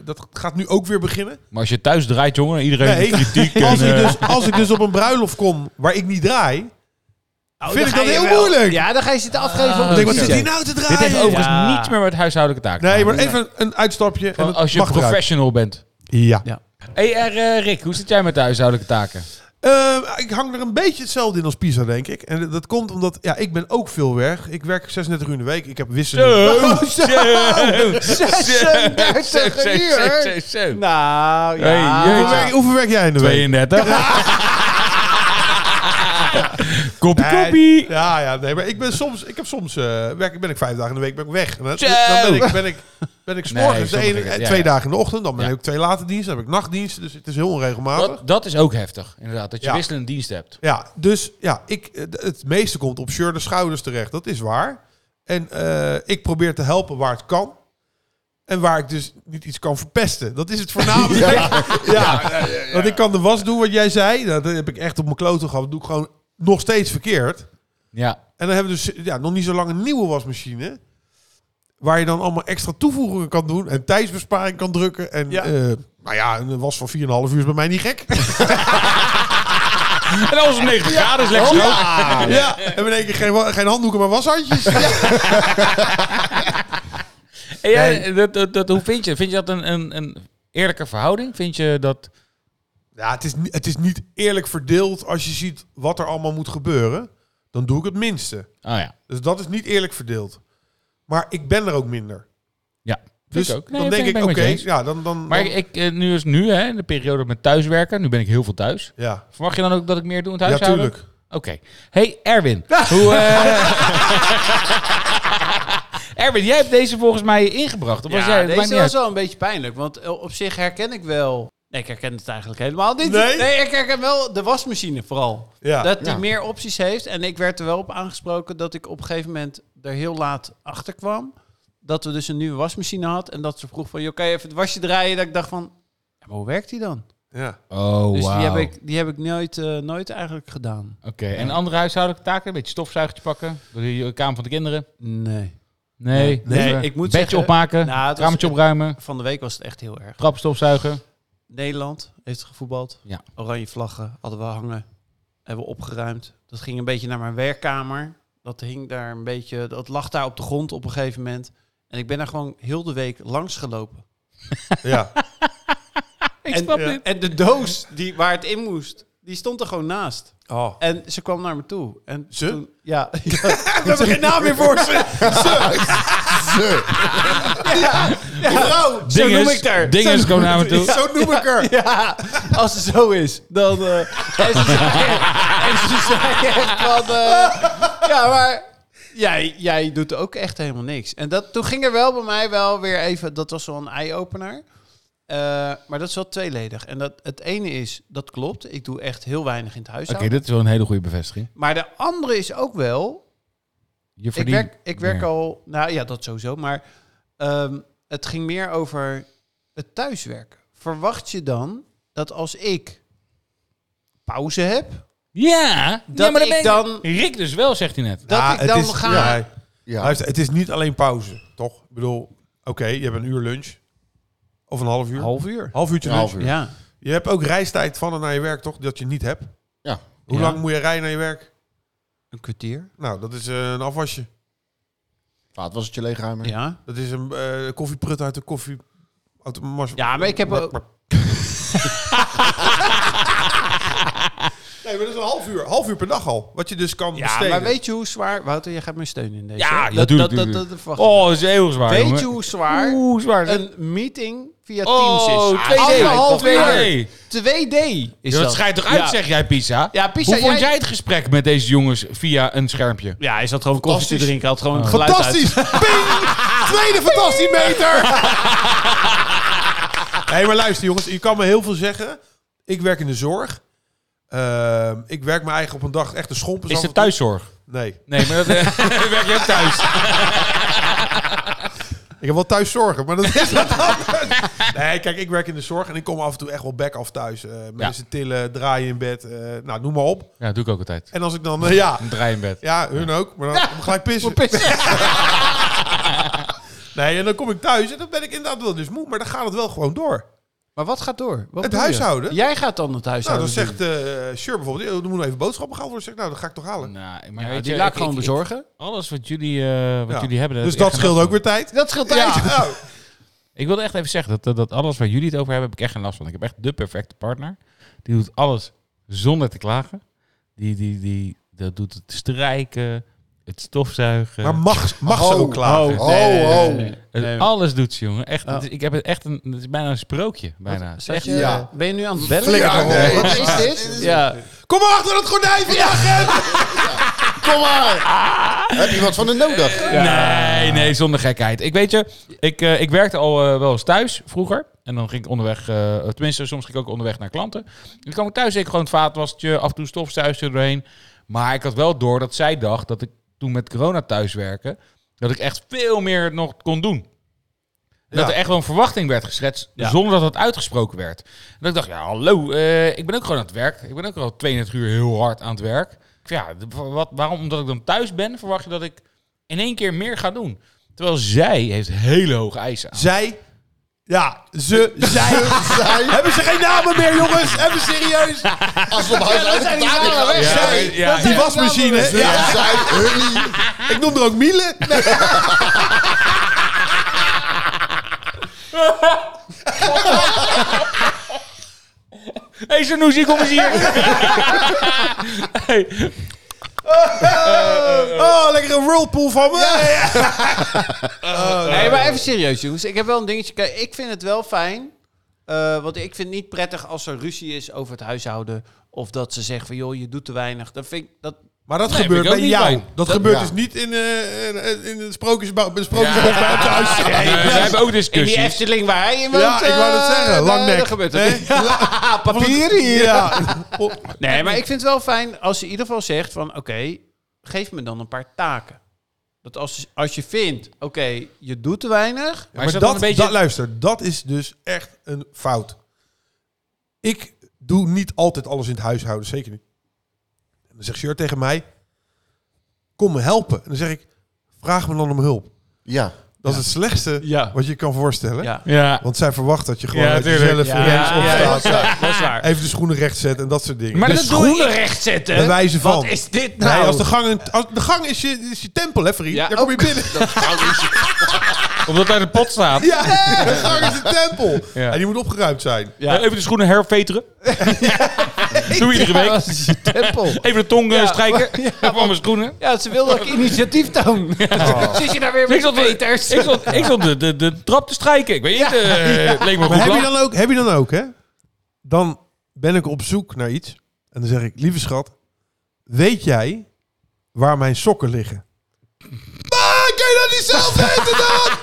dat gaat nu ook weer beginnen.
Maar als je thuis draait, jongen, iedereen
Nee,
heeft kritiek.
Als
en,
ik,
eh,
dus, als ik dus op een bruiloft kom waar ik niet draai, vind ik
Oh, ga
dat
je
heel
wel-
moeilijk.
Ja, dan ga je zitten afgeven op
Ik
de
denk, wat
DJ.
zit hier nou te draaien?
dit heeft overigens
Ja.
niets meer met huishoudelijke taken.
Nee,
te
maar even een uitstapje.
maken.
En
als je
mag eruit.
professional bent.
Ja.
Ja.
Hey, er, eh, Rick, hoe zit jij met de huishoudelijke taken?
Eh, ik hang er een beetje hetzelfde in als Pisa, denk ik. En dat komt omdat, ja, ik ben ook veel weg. Ik werk 36 uur in de week. Ik heb wisselend.
Zo, zo, zo,
36
zo,
uur.
zo, zo.
Nou, ja.
Hey,
[LAUGHS]
jeetje.
Hoeveel werk- Hoeveel werk jij in de week?
32. Koppie,
Nee,
koppie.
Ja, ja, nee, maar ik ben soms, ik heb soms, eh, werk, ben ik vijf dagen in de week ben ik weg. En dan, dan ben ik, ben ik, ben ik 's
Nee,
morgens de
sommige
ene-
dingen,
eh,
ja,
twee
ja.
dagen in de ochtend, dan ben
Ja.
ik ook twee late diensten, dan heb ik nachtdienst, dus het is heel onregelmatig.
Dat, dat is ook heftig, inderdaad. Dat je
Ja.
wisselende dienst hebt.
Ja, dus ja, ik, eh, d- het meeste komt op shirt en schouders terecht. Dat is waar. En eh, ik probeer te helpen waar het kan. En waar ik dus niet iets kan verpesten. Dat is het
[LAUGHS]
voornamelijk. ja. Want ik kan de was doen wat jij zei. Nou, dat heb ik echt op mijn kloten gehad. Dat doe ik gewoon nog steeds verkeerd.
[LAUGHS] Ja.
En dan hebben we dus ja, nog niet zo lang een nieuwe wasmachine. Waar je dan allemaal extra toevoegingen kan doen. En tijdsbesparing kan drukken. En
Ja.
eh, nou ja, een was van 4,5 uur is bij mij niet gek.
En alles om 90 graden is lekker zo.
[LAUGHS] Ja, en in één keer geen, wa- geen handdoeken, maar
[LAUGHS]
washandjes.
En jij, dat, dat, dat- hoe vind je? Vind je dat een, een, een eerlijke verhouding? Vind je dat...
Ja, het is, ni- het is niet eerlijk verdeeld als je ziet wat er allemaal moet gebeuren. Dan doe ik het minste.
Oh ja.
Dus dat is niet eerlijk verdeeld. Maar ik ben er ook minder.
Ja.
Dus
Vind ik ook. Nee,
dan
ben
denk ik,
ben
oké,
met je eens.
ja, dan... dan,
Maar
dan-
ik, ik, eh, nu is nu, hè, in de periode met thuiswerken. Nu ben ik heel veel thuis.
ja.
Verwacht je dan ook dat ik meer doe in het
ja,
huishouden?
tuurlijk.
Oké. Hey, Erwin. Hoe, eh, [LAUGHS] Erwin, jij hebt deze volgens mij ingebracht. Of was jij,
Ja,
het maakt
deze was
niet uit.
wel een beetje pijnlijk, want eh, op zich herken ik wel... Nee, ik herken het eigenlijk helemaal niet.
Nee?
ik herken wel de wasmachine vooral.
Ja.
dat die
ja.
meer opties heeft. En ik werd er wel op aangesproken dat ik op een gegeven moment er heel laat achter kwam. Dat we dus een nieuwe wasmachine had. En dat ze vroeg van, joh, kan je even het wasje draaien? Dat ik dacht van, ja, maar hoe werkt die dan?
Ja.
Oh,
Dus die
wauw.
heb
Oké,
ik, die heb ik nooit, eh, nooit eigenlijk gedaan.
en andere huishoudelijke taken? Een beetje stofzuigertje pakken? Door de kamer van de kinderen?
Nee.
Nee.
Nee,
Dus, eh,
ik moet
Bedje
zeggen-
opmaken,
Nou, het was-
kamertje opruimen,
Van de week was het echt heel erg.
trap stofzuigen.
Nederland heeft gevoetbald.
Ja.
Oranje vlaggen hadden we hangen. Hebben we opgeruimd. Dat ging een beetje naar mijn werkkamer. Dat hing daar een beetje. Dat lag daar op de grond op een gegeven moment. En ik ben daar gewoon heel de week langs gelopen.
[LAUGHS]
ja.
en,
Ik
eh,
snap
ja.
dit.
en de doos die, waar het in moest, die stond er gewoon naast.
Oh.
En ze kwam naar me toe. En
Ze?
Toen, ja. [LAUGHS]
We hebben geen naam meer voor ze.
Ze.
Vrouw, zo
Dinges-
noem ik daar.
Dinges
Zo-
komen naar me toe.
Zo noem ik haar.
Ja, als het zo is, dan... eh, en, ze zei, en ze zei echt van... eh, ja, maar jij, jij doet ook echt helemaal niks. En dat, toen ging er wel bij mij wel weer even... Dat was wel een eye-opener. Eh, maar dat is wel tweeledig. En dat, het ene is, dat klopt. Ik doe echt heel weinig in het
Oké,
huishouden.
dit is wel een hele goede bevestiging.
Maar de andere is ook wel...
Je
Ik
verdient
werk, ik werk
meer.
al... Nou ja, dat sowieso. Maar ehm, het ging meer over het thuiswerken. Verwacht je dan dat als ik pauze heb...
Ja,
Dat
ja, maar dan ben
ik
ik
dan...
Rick dus wel, zegt hij net.
Dat
Ja,
ik dan ga...
ja.
Ja.
Luister, het is niet alleen pauze, toch? Ik bedoel, oké, je hebt een uur lunch. Of een half uur.
Half uur.
half uurtje
Een
lunch.
half uur.
Ja.
Je hebt ook reistijd van en naar je werk, toch? Dat je niet hebt.
Ja.
Hoe
Ja.
lang moet je rijden naar je werk?
Een kwartier.
Nou, dat is eh, een afwasje.
Laat was het je leegruimen.
Ja.
Dat is een eh, koffieprut uit de koffie... Uit de mas-
Ja, maar ik heb ook-
nee, maar dat is een half uur. Half uur per dag al. Wat je dus kan
Ja,
besteden.
maar weet je hoe zwaar... Wouter, jij gaat me steunen in deze.
Ja,
hè?
ja,
dat,
tuurlijk,
dat, dat,
tuurlijk.
dat verwacht ik.
Oh, dat is heel zwaar,
Weet
jongen.
je hoe zwaar
Oeh, zwaar.
een meeting via
oh,
Teams is?
2D.
Anderhalf uur.
2D.
2D is
Ja,
dat.
dat schijnt toch uit,
Ja.
zeg jij, Pisa?
Ja, Pisa,
Hoe vond
jij-
jij... het gesprek met deze jongens via een schermpje?
Ja, hij zat gewoon koffie te
Fantastisch.
drinken. Had gewoon het geluid uit.
Fantastisch! Ping! Tweede fantastisch
[LAUGHS]
meter! Nee, maar luister jongens. Je kan me heel veel zeggen. Ik werk in de zorg. Ehm, ik werk mijn eigen op een dag echt een schompers
Is
af
het
en toe.
thuiszorg?
Nee.
Nee, maar dat [LAUGHS] eh, werk je ook thuis.
Ik heb wel thuis zorgen, maar dat is
[LAUGHS]
wat anders. Nee, kijk, ik werk in de zorg en ik kom af en toe echt wel back af thuis. Eh, mensen tillen, draaien in bed, eh, nou, noem maar op.
Ja, doe ik ook altijd.
En als ik dan, eh, ja,
Een draai in bed.
ja, hun ook, maar dan kom ik gelijk pissen. [LAUGHS] Nee, en dan kom ik thuis en dan ben ik inderdaad wel dus moe, maar dan gaat het wel gewoon door.
Maar wat gaat door? Wat
Het
doe je?
huishouden?
Jij gaat dan het
Nou,
huishouden
dan zegt eh Sure bijvoorbeeld, "Eh, er moet nog even boodschappen gehaald worden. Zeg, ik, nou, dat ga ik toch halen.
Nou, maar
doen. Ja,
weet
die
je,
laat
ik-
ik gewoon
ik-
bezorgen.
Alles wat jullie, eh, wat
Ja.
jullie hebben...
dus
heb ik
dat
echt
scheelt
geen
ook weer tijd.
Dat scheelt tijd.
Ja, nou,
Ik wilde echt even zeggen dat, dat, dat alles waar jullie het over hebben, heb ik echt geen last van. Ik heb echt de perfecte partner. Die doet alles zonder te klagen. Die, die, die, dat doet het strijken, het stofzuigen.
Maar mag, mag ze
Oh,
ook klagen?
Oh, oh.
Het- alles doet ze, jongen. Echt,
Oh.
het is- ik heb het echt een, het is bijna een sprookje. Bijna.
Zeg je,
Ja.
Ben je nu aan het bellen?
Flikker
Ja.
erop.
nee.
Wat is dit?
Ja.
Kom maar achter het gordijn van de agent!
Kom maar! Heb je wat van de nodig?
Nee, nee, zonder gekheid. Ik weet je, ik, eh, ik werkte al eh, wel eens thuis vroeger. En dan ging ik onderweg, eh, tenminste soms ging ik ook onderweg naar klanten. En dan kwam ik thuis, deed ik gewoon het vaatwassertje, af en toe stofzuister doorheen. Maar ik had wel door dat zij dacht dat ik toen met corona thuis werken, dat ik echt veel meer nog kon doen. En Dat
Ja.
er echt wel een verwachting werd geschetst,
Ja.
zonder dat het uitgesproken werd. En dat ik dacht, ja hallo, eh, ik ben ook gewoon aan het werk. Ik ben ook al 32 uur heel hard aan het werk. Ik zei, Ja, d- wat, waarom? Omdat ik dan thuis ben, verwacht je dat ik in één keer meer ga doen. Terwijl zij heeft hele hoge eisen aan.
Zij... Ja, [LAUGHS] ze, zij...
Zij,
hebben ze geen namen meer, jongens? Even serieus?
als we op huis uit de tafel gaan.
weg.
Zij,
Zij, die wasmachine.
zij,
Ja,
zij,
[LAUGHS]
hun niet.
ik noem er ook Miele. Nee,
Hé, hey, Sanusi, kom eens
[LAUGHS]
hier. hey,
Oh, lekker een whirlpool van me.
Oh, Nee, maar even serieus, jongens. Ik heb wel een dingetje. Kijk, ik vind het wel fijn. eh, want ik vind het niet prettig als er ruzie is over het huishouden. Of dat ze zeggen van, joh, je doet te weinig. Dat vind ik... Dat,
Maar dat
Nee,
gebeurt
vind ik
bij
ook
jou.
niet fijn.
Dat, gebeurt
ja.
dus niet in, eh, in, in het sprookjesbouw, bij het sprookjesbos bij hem thuis.
we hebben ook
in die
discussies.
Efteling waar hij in woont...
Ja, ik wou dat
eh,
zeggen.
daar-
Langnek.
daar gebeurt
Nee?
het niet.
Ja.
Ah, Papier hier.
Ja. Oh,
Nee, maar ik vind het wel fijn als je in ieder geval zegt van... Oké, geef me dan een paar taken. Dat als, als je vindt, oké, je doet te weinig...
Maar
Maar,
is
dat,
dat dan een beetje-
dat, luister, dat is dus echt een fout. Ik doe niet altijd alles in het huishouden, zeker niet. En dan zegt Sjeur tegen mij, kom me helpen. En dan zeg ik, vraag me dan om hulp.
Ja.
Dat is het slechtste
Ja.
wat je kan voorstellen.
Ja,
Ja.
Want zij verwacht dat je gewoon
Ja,
uit
tuurlijk.
jezelf
Ja,
ineens
ja, ja,
opstaat.
dat is waar.
Even de schoenen recht zet en dat soort dingen.
[LAUGHS] Maar
de
dat doe
schoenen
ik.
recht
Bij
zetten.
wijze van.
Wat is dit
Nee,
nou?
als de gang, een, als de gang is, je, is je tempel, hè, vriend?
Ja,
Daar kom je binnen.
Omdat hij in de pot
[LAUGHS]
staat.
Ja, de gang is een tempel.
Ja.
En die moet opgeruimd zijn.
[LAUGHS] Ja.
Even de schoenen
[LAUGHS]
herveteren. doe
[LAUGHS]
je iedere week.
Tempel.
Even de tong eh,
[LAUGHS] Ja.
strijken van mijn schoenen.
Ja, ze wil dat ik initiatief toon. [LAUGHS] Zit je daar weer
Ik
met
zat, ik
meters?
stond, ik stond de, de, de trap te strijken. Ik weet niet, eh, het leek
Maar
me goed
heb je,
plan.
dan ook, heb je dan ook, hè? Dan ben ik op zoek naar iets. En dan zeg ik, lieve schat, weet jij waar mijn sokken liggen? [LAUGHS] Maar kan je dat niet zelf weten dan? [LAUGHS]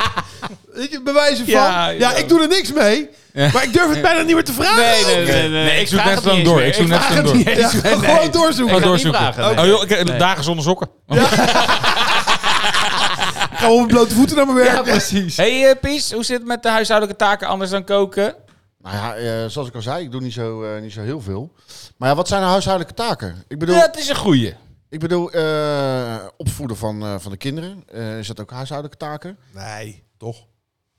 Weet je, bewijzen van.
Ja,
Ja,
ja.
ik doe er niks mee. Maar ik durf het bijna niet meer te vragen.
Nee, nee, nee. nee,
Nee, ik zoek net
vraag
zo
het
lang
niet
door.
eens
Ik
meer.
zoek net zo lang door.
Ja, [LAUGHS] Gewoon doorzoeken.
Oh,
ga niet
doorzoeken.
vragen, nee.
Oh, joh, ik-
Nee.
Dagen zonder sokken.
Ik ga op mijn blote voeten naar mijn werk. Ja, precies.
hey, eh, Pies, hoe zit het met de huishoudelijke taken anders dan koken?
Nou ja, eh, zoals ik al zei, ik doe niet zo, eh, niet zo heel veel. Maar ja, wat zijn nou huishoudelijke taken? Ik bedoel,
Dat is een goeie.
ik bedoel eh, opvoeden van, eh, van de kinderen. Eh, is dat ook huishoudelijke taken?
Nee, toch?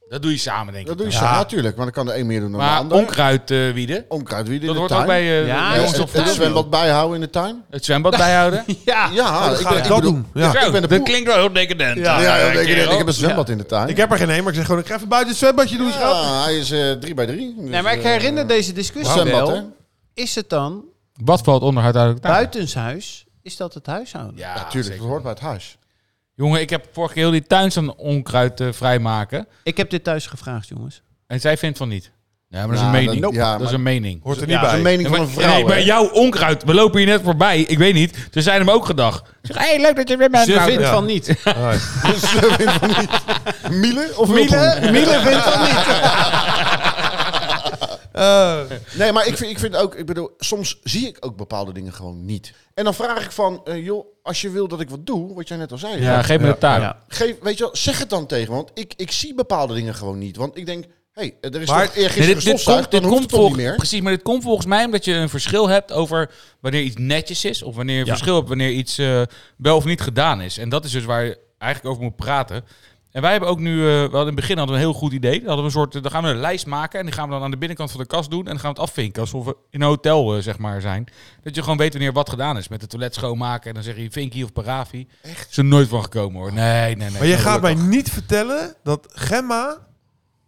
Dat doe je samen, denk ik.
Dat doe je
Ja.
samen, natuurlijk. Maar dan kan de een meer doen dan de
maar
ander.
onkruid eh, wieden,
Onkruid wie in
dat
de
hoort
tuin.
ook bij
Ja,
eh, bij
Eh,
ja,
ons
het,
op
het
de
zwembad bijhouden in de tuin.
het zwembad bijhouden.
Ja.
[LAUGHS] Ja,
Dan
ik,
ga
ben-
Ah, ik
ik
dat
bedoel-
doen. Ja.
Zo,
ik ben de
dat
poel-
klinkt wel heel decadent.
Ja, ja, ik, ik,
kerel.
heb een zwembad in de tuin.
Ik heb er geen een, maar ik zeg gewoon, ik ga even buiten het zwembadje doen, schat.
ja, hij is eh, drie bij drie. Dus,
Nee, maar ik
eh,
herinner deze discussie
zwembad, hè?
wel. Is het dan
Wat valt onder huishoudelijke taken?
buitenshuis? Is dat het huishouden?
Ja,
Ja, tuurlijk.
zeker.
Dat hoort bij het huis.
Jongen, ik heb vorige keer heel die tuin staan onkruid eh, vrijmaken.
Ik heb dit thuis gevraagd, jongens.
En zij vindt van niet. Ja, maar dat is
Ja,
een mening.
dat-
Dat,
ja,
is
maar-
een mening.
Hoort er
Ja,
niet
De
bij.
mening
Ja,
van
maar-
een vrouw.
nee, bij
hè?
jou onkruid. We lopen hier net voorbij. Ik weet niet. Ze zijn hem ook gedacht. Zeg, hey, leuk dat je weer bent.
Ze
Nou,
vindt
ja.
van niet.
Miele of Wilpoen?
Miele, Miele vindt van niet.
Eh,
Nee, maar ik vind, ik vind ook, ik bedoel, soms zie ik ook bepaalde dingen gewoon niet. En dan vraag ik van, eh, joh, als je wil dat ik wat doe, wat jij net al zei,
Ja,
hè,
geef me de taak.
Ja.
geef, weet je wel, zeg het dan tegen me, want ik, ik zie bepaalde dingen gewoon niet. Want ik denk, hé, hey, eh, er is
Maar-
toch eergisteren
Nee, dit, dit
stofzuig,
komt, dit
dan hoeft
komt
het toch niet
volgens,
meer.
precies, maar dit komt volgens mij omdat je een verschil hebt over wanneer iets netjes is. Of wanneer je een
Ja.
verschil hebt wanneer iets eh, wel of niet gedaan is. En dat is dus waar je eigenlijk over moet praten. En wij hebben ook nu, eh, we hadden in het begin hadden we een heel goed idee. Dan, hadden we een soort, eh, dan gaan we een lijst maken en die gaan we dan aan de binnenkant van de kast doen. En dan gaan we het afvinken alsof we in een hotel eh, zeg maar zijn. Dat je gewoon weet wanneer wat gedaan is. Met het toilet schoonmaken en dan zeg je Vinky of Paravi. Echt? Is er nooit van gekomen hoor. Nee, nee, nee.
Maar je
Dat
gaat
wordt
mij niet vertellen dat Gemma,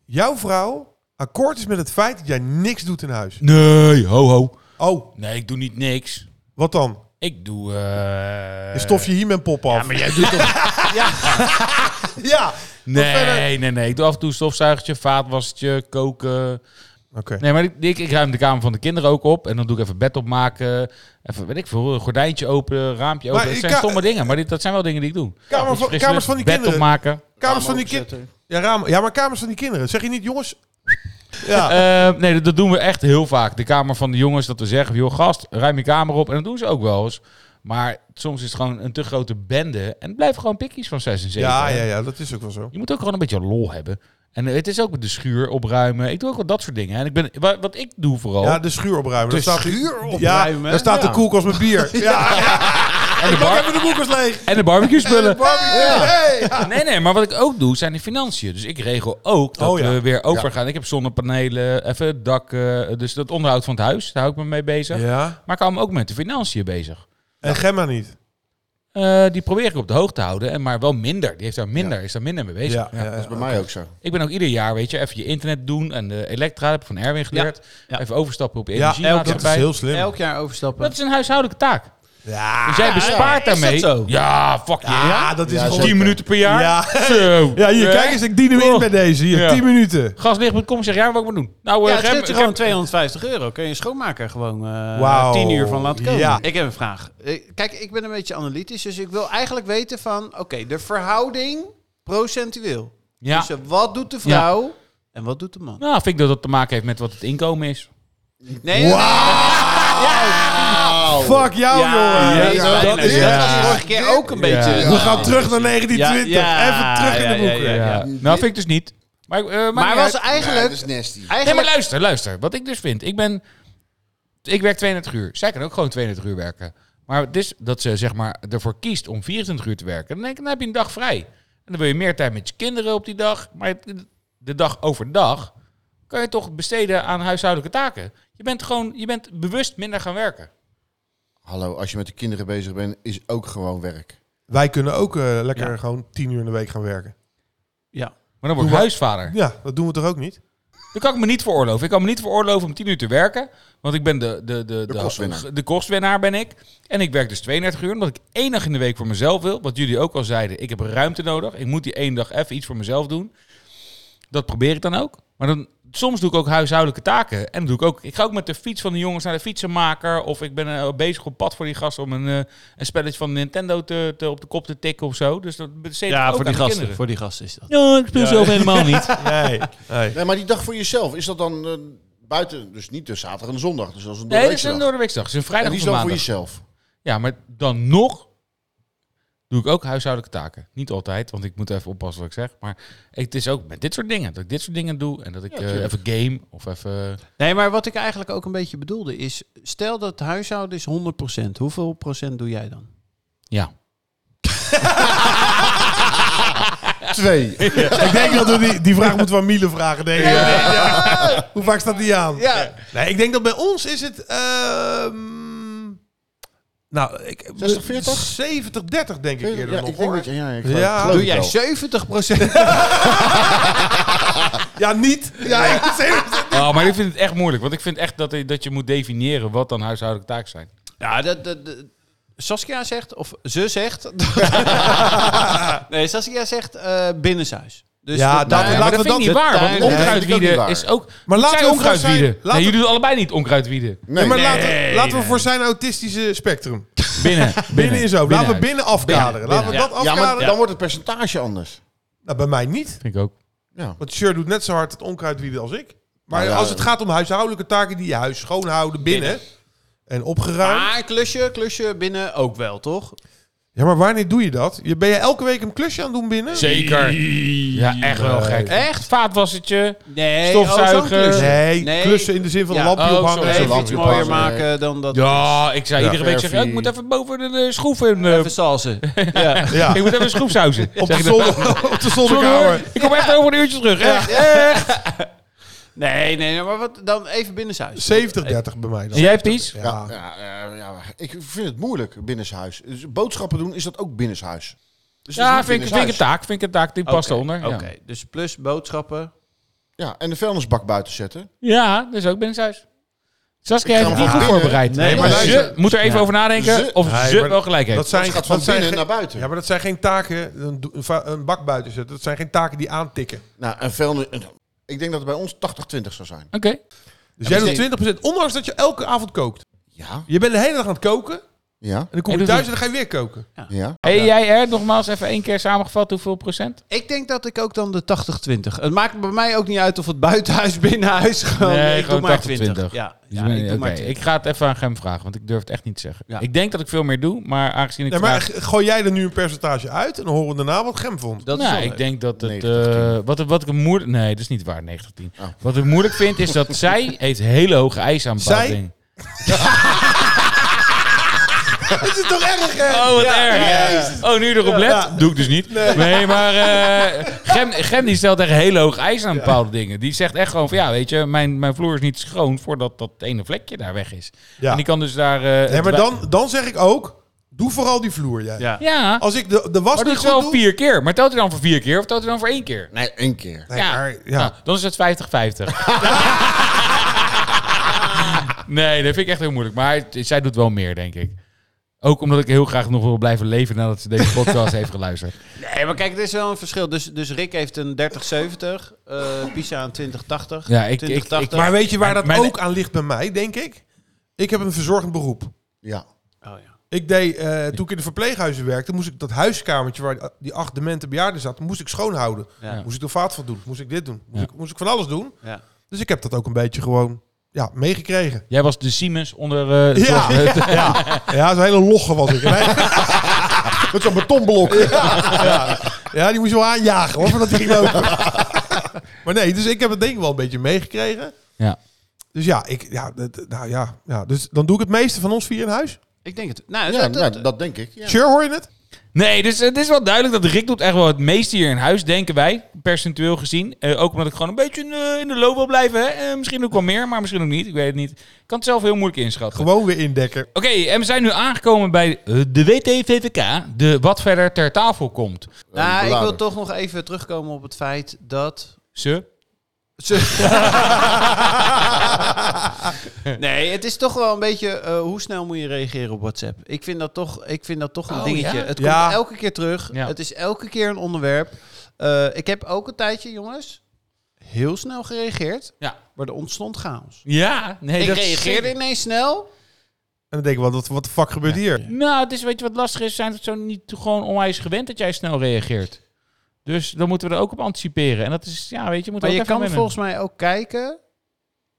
jouw vrouw, akkoord is met het feit dat jij niks doet in huis.
Nee, ho ho.
Oh,
Nee, ik doe niet niks.
wat dan?
Ik doe... eh,
Je stof je hier mijn pop af. Ja, maar jij doet [LAUGHS] toch... ja. ja.
Nee, nee, nee. Ik doe af en toe stofzuigertje, vaatwassertje, koken.
Oké.
Nee, maar ik, ik, ik ruim de kamer van de kinderen ook op. En dan doe ik even bed opmaken. Even, weet ik veel, een gordijntje open, raampje open.
Maar
dat
ik
zijn
ka-
stomme dingen, maar dit, dat zijn wel dingen die ik doe.
Kamer
Dus
van-
frisse
kamers van die
lucht, bed
kinderen.
opmaken.
Kamers van die kinderen.
Openzetten.
Ja, ramen. ja, maar kamers van die kinderen. Zeg je niet, jongens? Ja.
Eh, nee, dat, dat doen we echt heel vaak. De kamer van de jongens, dat we zeggen, joh, gast, ruim je kamer op. En dat doen ze ook wel eens. Maar soms is het gewoon een te grote bende. En het blijven gewoon pikkies van 6 en 7.
ja, ja, ja, dat is ook wel zo.
Je moet ook gewoon een beetje lol hebben. En eh, het is ook de schuur opruimen. Ik doe ook wel dat soort dingen. En ik ben, wa- wat ik doe vooral...
Ja, de schuur opruimen.
De
Daar staat-
schuur
Ja,
opruimen?
daar staat de
Ja.
koelkast met bier. Ja,
en, de
pak
bar-
even de koelkast leeg.
en de barbecue spullen.
Ja. Hey.
Nee, nee, maar wat ik ook doe, zijn de financiën. Dus ik regel ook dat
Oh ja.
we weer open
Ja.
gaan. Ik heb zonnepanelen, even het dak. eh, dus dat onderhoud van het huis, daar hou ik me mee bezig.
Ja.
Maar ik hou me ook met de financiën bezig.
En Gemma niet.
Eh, die probeer ik op de hoogte te houden, en maar wel minder. Die heeft daar minder, is daar minder mee bezig.
Ja, ja,
Dat is
ja.
bij mij ook zo.
Ik ben ook ieder jaar, weet je, even je internet doen en de elektra, heb ik van Erwin geleerd.
Ja.
Even overstappen op
Ja, dat is
energiemaatschappij.
heel slim.
Elk jaar overstappen.
dat is een huishoudelijke taak.
Ja.
Dus jij bespaart
Ah, is dat
daarmee.
zo?
Ja, fuck je.
ja, dat is
Ja,
gewoon...
10
eh,
minuten per jaar.
Ja.
[LAUGHS]
Zo.
Ja, hier,
Hè?
kijk eens, ik dien hem in bij deze. Hier,
Ja.
10 minuten.
Gaslicht.com zeg jij wat ik moet doen. Nou, eh,
Ja, het
Gem-
scheelt je
Gem-
gewoon 250 euro. Kun je schoonmaker gewoon eh
Wauw.
10 uur van laten komen.
Ja.
Ik heb een vraag. Eh, Kijk, ik ben een beetje analytisch, dus ik wil eigenlijk weten van... Oké, de verhouding procentueel.
Ja.
Dus eh, wat doet de vrouw en wat doet de man?
Nou, vind ik dat dat te maken heeft met wat het inkomen is.
Nee,
Fuck jou,
Ja,
jongen.
ja,
Ja,
ja,
dat is-
ja.
ja.
Dat was vorige keer ook een beetje...
We gaan terug naar 1920.
Ja, ja,
Even terug in de
ja,
boeken.
ja, ja.
Nou, vind ik dus niet. Maar, eh, maakt
Maar
niet
was
uit.
Nee,
eigenlijk...
dat
dus-
is nasty.
Nee, maar
eigenlijk
luister, luister. Wat ik dus vind, ik ben... Ik werk 32 uur. Zij kan ook gewoon 32 uur werken. Maar het is dat ze zeg maar ervoor kiest om 24 uur te werken. Dan denk ik, dan heb je een dag vrij. En dan wil je meer tijd met je kinderen op die dag. Maar het- de dag overdag kan je toch besteden aan huishoudelijke taken. Je bent gewoon, je bent bewust minder gaan werken.
Hallo, als je met de kinderen bezig bent, is ook gewoon werk.
Wij kunnen ook eh, lekker gewoon 10 uur in de week gaan werken.
ja.
Maar dan word ik
maar-
huisvader.
Ja, dat doen we toch ook niet?
Dat kan ik me niet veroorloven. Ik kan me niet veroorloven om 10 uur te werken. Want ik ben de, de, de, de,
kostwinnaar.
de kostwinnaar ben ik. En ik werk dus 32 uur. Omdat ik één dag in de week voor mezelf wil. Wat jullie ook al zeiden. Ik heb ruimte nodig. Ik moet die één dag even iets voor mezelf doen. Dat probeer ik dan ook. Maar dan, soms doe ik ook huishoudelijke taken. En dan doe ik ook. Ik ga ook met de fiets van de jongens naar de fietsenmaker. Of ik ben eh, bezig op pad voor die gasten om een, eh, een spelletje van Nintendo te, te- op de kop te tikken of zo. Dus dat besteed ik ook
voor die
aan de
gasten.
kinderen.
Voor die gasten is dat.
Ja, ik speel zelf helemaal niet.
Nee. nee.
Nee, maar die dag voor jezelf, is dat dan eh, buiten, dus niet de zaterdag en de zondag, dus dat is een
Nee, dat is
doorweekse
een
dag.
doordeweeksdag. Het is een
En
vrijdag
die
of
is
een
dan
maandag.
voor jezelf.
Ja, maar dan nog doe ik ook huishoudelijke taken. Niet altijd, want ik moet even oppassen wat ik zeg. Maar het is ook met dit soort dingen. Dat ik dit soort dingen doe en dat ik eh, even game of even...
Nee, maar wat ik eigenlijk ook een beetje bedoelde is... Stel dat het huishouden is 100%. Hoeveel procent doe jij dan?
Ja.
Twee.
Ik denk dat we die, die vraag moeten we aan Miele vragen. Denk ik. Ja. Hoe vaak staat die aan?
Ja.
Nee, ik denk dat bij ons is het... ehm, nou, ik,
60, 40?
70, 30 denk ik eerder
ja,
nog,
ik denk
hoor.
dat je, ja, ik
Ja.
geloof, ik geloof
Doe
het
jij
wel.
70
Ja, niet. Ja, ik-
[LAUGHS]
70.
Oh, maar ik vind het echt moeilijk. Want ik vind echt dat, dat je moet definiëren wat dan huishoudelijke taken zijn.
Ja, dat, dat, dat- Saskia zegt, of ze zegt. [LAUGHS] nee, Saskia zegt eh binnenshuis. Dus
Ja, dat-
dat- daar-
laten
maar dat
we
vind ik
dat-
niet waar.
daar-
Want
nee,
onkruidwieden
dat vind
is
ik
ook...
Maar
Maar
laten we
laten zijn onkruidwieden.
voor zijn- laten
Nee,
we-
jullie doen allebei niet
[LAUGHS]
onkruidwieden.
Nee, maar
Nee.
laten,
Nee,
laten we
nee.
voor zijn autistische spectrum.
Binnen.
Binnen is ook. Laten we
Binnenuit.
binnen afkaderen. Laten we
binnen.
dat
Ja,
afkaderen.
maar dan wordt het percentage anders.
Nou, bij mij niet.
Vind ik ook.
Ja.
Want Sjur doet net zo hard het onkruidwieden als ik. Maar
Nou ja,
als het gaat om huishoudelijke taken die je huis schoonhouden binnen, en opgeruimd.
Maar een klusje, klusje binnen ook wel, toch?
Ja, maar wanneer doe je dat? Je, ben je elke week een klusje aan het doen binnen?
Zeker. Ja, echt wel gek.
Echt?
Vaatwassertje.
Nee,
Stofzuiger.
oh, zo'n klusje.
Nee,
Nee.
klussen in de zin van
Ja,
een lampje
oh,
ophangen.
zo,
en
Nee,
zo.
Even
iets
lampje
mooier
passen.
maken dan dat.
Ja, ik zei iedere week, zeg, ik,
verfie.
ik moet even boven de, eh, schroef in. eh,
Even salsen. ja.
Ja.
ik moet even schroefsauzen.
Op de, zon, op de zonnekamer.
ik kom echt over een uurtje terug. Echt.
[LAUGHS] Nee, nee, nee, maar wat, dan even binnenshuis.
70-30 bij mij dan.
En jij, Pies?
Ja.
Ja, eh, ja, ik vind het moeilijk binnenshuis. Dus boodschappen doen is dat ook binnenshuis. Dus dat is
Ja,
niet
vind ik, vind ik een
binnenshuis.
taak. Vind ik een taak, die past
Oké,
eronder.
Oké,
Ja.
dus plus boodschappen.
Ja, en de vuilnisbak buiten zetten.
dus ja, dat is ook binnenshuis. Saskia
Ik ga
heeft het
hem
niet goed
gewoon
voorbereid.
Nee,
Nee,
maar
maar ze
luister.
moet er even
Ja.
over nadenken
Ze-
of
Nee,
ze
maar-
wel gelijk heeft.
Dat zijn,
Het
dat
gaat van
zijn
binnen
geen-
naar buiten.
Ja, maar dat zijn geen taken, een, do- een va- een bak buiten zetten. Dat zijn geen taken die aantikken.
Nou, een vuilnis... een- Ik denk dat het bij ons 80-20 zou zijn.
Oké.
Dus
maar
jij
ze-
doet 20%, ondanks dat je elke avond kookt.
Ja,
Je bent de hele dag aan het koken. En
ja,
dan kom
En
je
doet
thuis en dan ga je weer koken.
ja.
Hey, jij er nogmaals even één keer samengevat hoeveel procent?
Ik denk dat ik ook dan de 80-20. Het maakt bij mij ook niet uit of het buitenhuis, [LAUGHS] binnenhuis. Gewoon,
Nee,
ik
gewoon
doe maar
80-20.
20. Ja,
Dus
ja,
ben-
ik doe maar
oké,
20.
ik ga het even aan Gem vragen, want ik durf het echt niet te zeggen.
Ja.
Ik denk dat ik veel meer doe, maar aangezien ik
Nee, maar
vandaag-
g- gooi jij er nu een percentage uit en dan horen we daarna wat Gem vond.
Dat is
nou,
wel
ik
leuk.
denk dat het...
90-10.
eh, wat, ik- wat ik moeilijk... Nee, dat is niet waar, 90-10.
Oh.
Wat ik moeilijk vind is
[LAUGHS]
dat zij heeft hele hoge eisen aan bepaalde
Zij?
dingen.
Het is toch erg, hè?
Oh, wat erg. Oh, nu je erop let?
Ja.
Doe ik dus niet. Nee, maar eh, Gem, Gem die stelt echt hele hoge eisen aan bepaalde dingen. Die zegt echt gewoon van, ja, weet je, mijn, mijn vloer is niet schoon voordat dat ene vlekje daar weg is.
Ja.
En die kan dus daar... eh,
Nee, maar
het-
dan, dan zeg ik ook, doe vooral die vloer jij.
Ja.
Ja,
Als ik de, de was
maar dat
niet
is
goed doe...
wel vier keer. Maar telt hij dan voor vier keer of telt hij dan voor één keer?
Nee, één keer.
Nee,
Ja.
maar- ja.
Nou, dan is het 50-50. [LAUGHS] nee, dat vind ik echt heel moeilijk. Maar het- zij doet wel meer, denk ik. Ook omdat ik heel graag nog wil blijven leven nadat ze deze podcast heeft geluisterd.
Nee, maar kijk, er is wel een verschil. Dus, dus Rick heeft een 30-70, eh Pisa een 20-80.
Ja, ik-
20-80.
ik- ik-
Maar weet je waar dat
Mijn-
ook aan ligt bij mij, denk ik? Ik heb een verzorgend beroep.
Ja.
Oh, ja.
Ik deed, eh, toen ik in de verpleeghuizen werkte, moest ik dat huiskamertje waar die- die acht demente bejaarden zaten, moest ik schoonhouden.
Ja.
Moest ik er vaat van doen? Moest ik dit doen? Moest,
Ja.
ik, moest ik van alles doen?
Ja.
Dus ik heb dat ook een beetje gewoon ja, meegekregen.
Jij was de Siemens onder... eh, het
Ja.
zorg-
Ja, zo'n hele logge was ik. Nee,
Met zo'n
[LAUGHS]
betonblok.
ja, die moest je wel aanjagen hoor, voordat die ging
[LAUGHS]
lopen. maar nee, dus ik heb het denk ik wel een beetje meegekregen.
[LAUGHS] ja.
Dus ja, ik, ja, dat- nou ja, ja, dus dan doe ik het meeste van ons vier in huis.
Ik denk het. Nou,
Ja,
dat, dat-
nou, dat denk ik. Ja.
Sure, hoor je het?
Nee, dus het is wel duidelijk dat Rick doet echt wel het meeste hier in huis, denken wij, percentueel gezien. Eh, ook omdat ik gewoon een beetje eh, in de loop wil blijven. Hè? Eh, misschien ook wel meer, maar misschien ook niet. Ik weet het niet. Ik kan het zelf heel moeilijk inschatten.
Gewoon weer indekken.
Oké, en we zijn nu aangekomen bij eh, de WTVVK, de wat verder ter tafel komt.
nou, ik wil
Beladen.
toch nog even terugkomen op het feit dat...
Ze?
nee, het is toch wel een beetje eh, hoe snel moet je reageren op WhatsApp. Ik vind dat toch, ik vind dat toch een
Oh,
dingetje.
ja?
Het
Ja.
komt elke keer terug.
Ja.
Het is elke keer een onderwerp. Eh, ik heb ook een tijdje, jongens, heel snel gereageerd.
Ja.
Maar er ontstond chaos.
Ja, nee,
ik
dat is
reageerde
zeker-
ineens snel.
En dan denk ik wel, wat- wat de fuck gebeurt hier?
Nou, het is, weet je wat lastig is? We Zijn het zo niet gewoon onwijs gewend dat jij snel reageert? Dus dan moeten we er ook op anticiperen. En dat is, ja, weet je, moet
Maar
ook
je
even
kan
wennen.
volgens mij ook kijken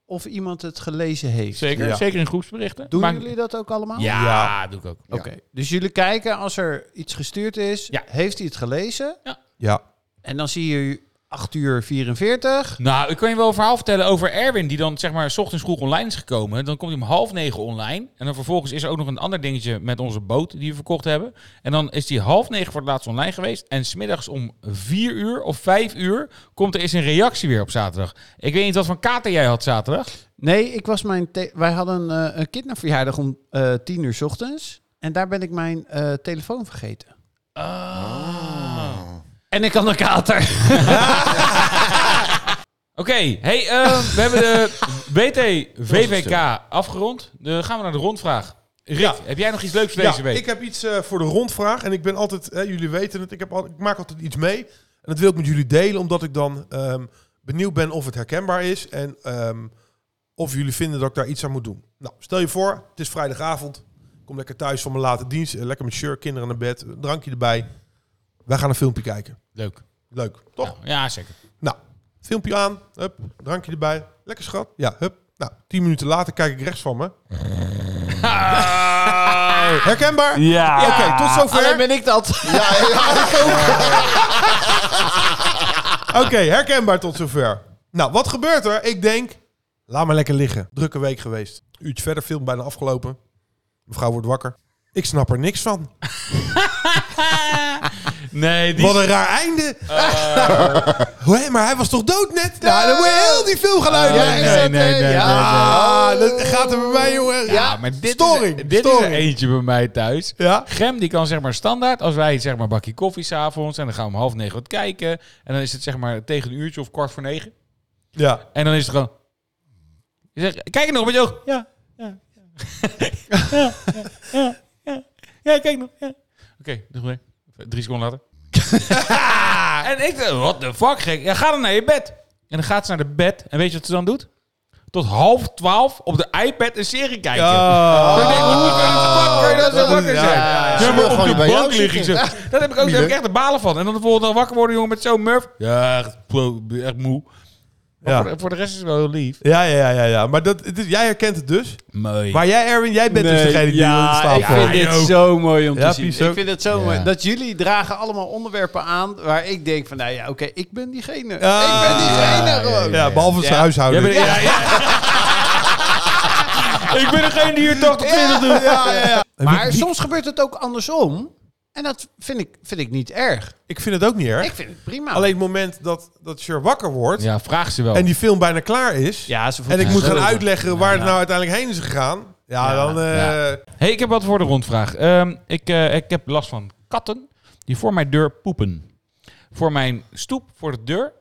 of iemand het gelezen heeft.
Zeker,
Ja.
zeker in groepsberichten.
Doen
Maar-
jullie dat ook allemaal?
Ja,
Ja.
doe ik ook.
Oké. Dus jullie kijken als er iets gestuurd is,
Ja.
heeft hij het gelezen?
Ja.
En dan zie je 8 uur 44.
Nou, ik kan je wel een verhaal vertellen over Erwin, die dan zeg maar 's ochtends vroeg online is gekomen. Dan komt hij om half negen online. En dan vervolgens is er ook nog een ander dingetje met onze boot die we verkocht hebben. En dan is hij half negen voor het laatst online geweest. En smiddags om vier uur of vijf uur komt er eens een reactie weer op zaterdag. Ik weet niet wat van kater jij had zaterdag.
Nee, ik was mijn te- wij hadden eh, een kinderverjaardag om eh 10 uur 's ochtends. En daar ben ik mijn eh, telefoon vergeten.
Ah.
En ik had een [LAUGHS] kater.
Oké, hey, eh, we hebben de WTVVK afgerond. Dan gaan we naar de rondvraag. Rick,
Ja.
heb jij nog iets leuks voor deze
ja,
week?
Ik heb iets eh, voor de rondvraag. En ik ben altijd, hè, jullie weten het, ik, heb al, ik maak altijd iets mee. En dat wil ik met jullie delen, omdat ik dan ehm, benieuwd ben of het herkenbaar is. En ehm, of jullie vinden dat ik daar iets aan moet doen. Nou, stel je voor, het is vrijdagavond. Ik kom lekker thuis van mijn late dienst. eh, Lekker met shirt, kinderen naar bed, een drankje erbij. Wij gaan een filmpje kijken.
Leuk.
Leuk, toch?
Nou, ja, zeker.
Nou, filmpje aan, hup, drankje erbij. Lekker schat, ja, hup. Nou, tien minuten later kijk ik rechts van
[LAUGHS]
me. Herkenbaar?
Ja.
Oké, tot zover.
Alleen ben ik dat.
Ja, ja, ik ook.
Oké, herkenbaar tot zover. Nou, wat gebeurt er? Ik denk, laat maar lekker liggen. Drukke week geweest. Uurtje verder, film bijna afgelopen. Mevrouw wordt wakker. Ik snap er niks van.
Nee, die
Wat een raar einde. [LAUGHS] Hé, maar hij was toch dood net? Ja, dan moet je heel die film gaan
nee,
uitleggen.
nee, nee, nee,
Ah, dat gaat er bij mij, jongen.
Ja, Ah, maar dit,
Storing,
is, er- dit is er
storing.
eentje bij mij thuis.
Ja?
Gem die kan zeg maar standaard, als wij zeg maar een bakje koffie s'avonds en dan gaan we om half negen wat kijken. En dan is het zeg maar tegen een uurtje of kwart voor negen.
Ja.
En dan is het gewoon... Je zegt, kijk er nog met je oog. Ja. Ja, kijk nog. ja. Oké, nog weer. Drie seconden [LAUGHS] later. en ik dacht, what the fuck, gek. Ja, ga dan naar je bed. En dan gaat ze naar de bed. En weet je wat ze dan doet? Tot half twaalf op de iPad een serie kijken.
Ja.
Dan denk ik, hoe kan het fuck kan je dat zo
Dat is-
wakker zijn?
ja, ja, ja.
Ja, maar
Gewoon
op de
bij jou
bank liggen ze.
zitten.
[LAUGHS] Dat heb ik ook, daar heb ik
Moeilijk.
echt de balen van. En dan de volgende dag wakker worden, jongen, met zo'n murf. Ja, echt, plo- echt moe. Maar
Ja.
Voor, voor de rest is het wel heel lief.
Ja, ja, ja, ja, ja. Maar dat, het is- jij herkent het dus.
Mooi.
Maar jij, Erwin, jij bent dus degene die aan de
ja,
tafel
ik vind
hangt.
dit zo mooi om te
Ja,
zien.
Pies ook.
Ik vind het zo
Ja.
mooi. Dat jullie dragen allemaal onderwerpen aan waar ik denk van, nou ja, oké, ik ben diegene.
Ja.
Ik ben diegene
Ja,
gewoon.
Ah. Ja, behalve zijn
Ja.
huishouden.
Jij bent- ja, [LAUGHS] ja. ik ben degene die hier 80 20 doet.
[LAUGHS]
Maar soms gebeurt het ook andersom. En dat vind ik, vind ik niet erg.
Ik vind het ook niet erg.
Ik vind het prima.
Alleen het moment dat, dat Cher wakker wordt
Ja, vraag ze wel.
en die film bijna klaar is...
ja, ze voelt
en ik
zich
moet gaan
schuldig.
uitleggen waar het nou uiteindelijk heen is gegaan... Ja,
Ja,
dan... eh,
ja. hey, ik heb wat voor de rondvraag. Ehm, ik, eh, ik heb last van katten die voor mijn deur poepen. Voor mijn stoep, voor de deur,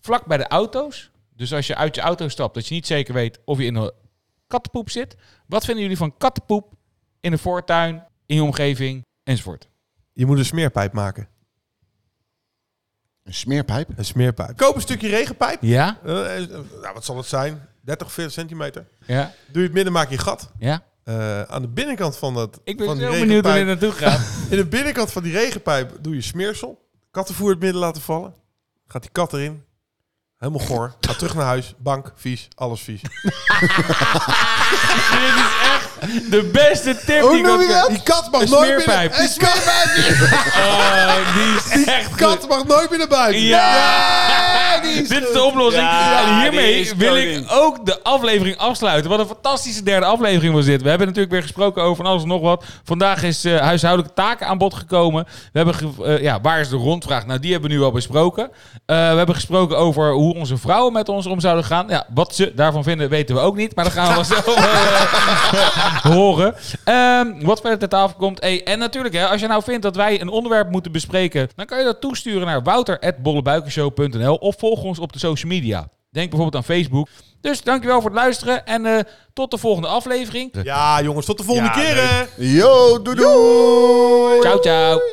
vlak bij de auto's. Dus als je uit je auto stapt, dat je niet zeker weet of je in een kattenpoep zit. Wat vinden jullie van kattenpoep in de voortuin, in je omgeving enzovoort?
Je moet een smeerpijp maken.
Een smeerpijp.
Een smeerpijp. Koop een stukje regenpijp.
Ja?
Eh, eh, nou, wat zal het zijn? 30, 40 centimeter.
Ja?
Doe je het midden, maak je een gat.
Ja?
Eh, aan de binnenkant van dat...
Ik ben
van die
heel benieuwd waar dit
regenpijp-
naartoe gaat.
In de binnenkant van die regenpijp doe je smeersel. Kattenvoer het midden laten vallen. Gaat die kat erin. Helemaal goor. Gaat terug naar huis. Bank, vies. Alles vies.
dit is echt [LAUGHS] de beste tip Oh, nou die ik had-
Die kat mag
Een
nooit meer
smeerpijp.
naar Die kat,
[LAUGHS] Oh, die is echt
die
goed.
kat mag nooit meer naar buiten.
Ja! Dit is de oplossing.
Ja,
en
die
hiermee
is
wil ik
koning.
ook de aflevering afsluiten. Wat een fantastische derde aflevering was dit. We hebben natuurlijk weer gesproken over van alles en nog wat. Vandaag is eh, huishoudelijke taken aan bod gekomen. We hebben ge- eh, ja, waar is de rondvraag? Nou, die hebben we nu al besproken. Eh, we hebben gesproken over hoe onze vrouwen met ons om zouden gaan. Ja, wat ze daarvan vinden weten we ook niet. Maar dat gaan we wel zelf eh, [LAUGHS] horen. Ehm, wat verder ter tafel komt. Hey, en natuurlijk, hè, als je nou vindt dat wij een onderwerp moeten bespreken... dan kan je dat toesturen naar wouter.bollebuikenshow.nl... of volg ons op de social media. Denk bijvoorbeeld aan Facebook. Dus dankjewel voor het luisteren en eh, tot de volgende aflevering.
Ja, jongens. Tot de volgende
Ja,
keer, hè.
Yo, doei doei.
Ciao, ciao.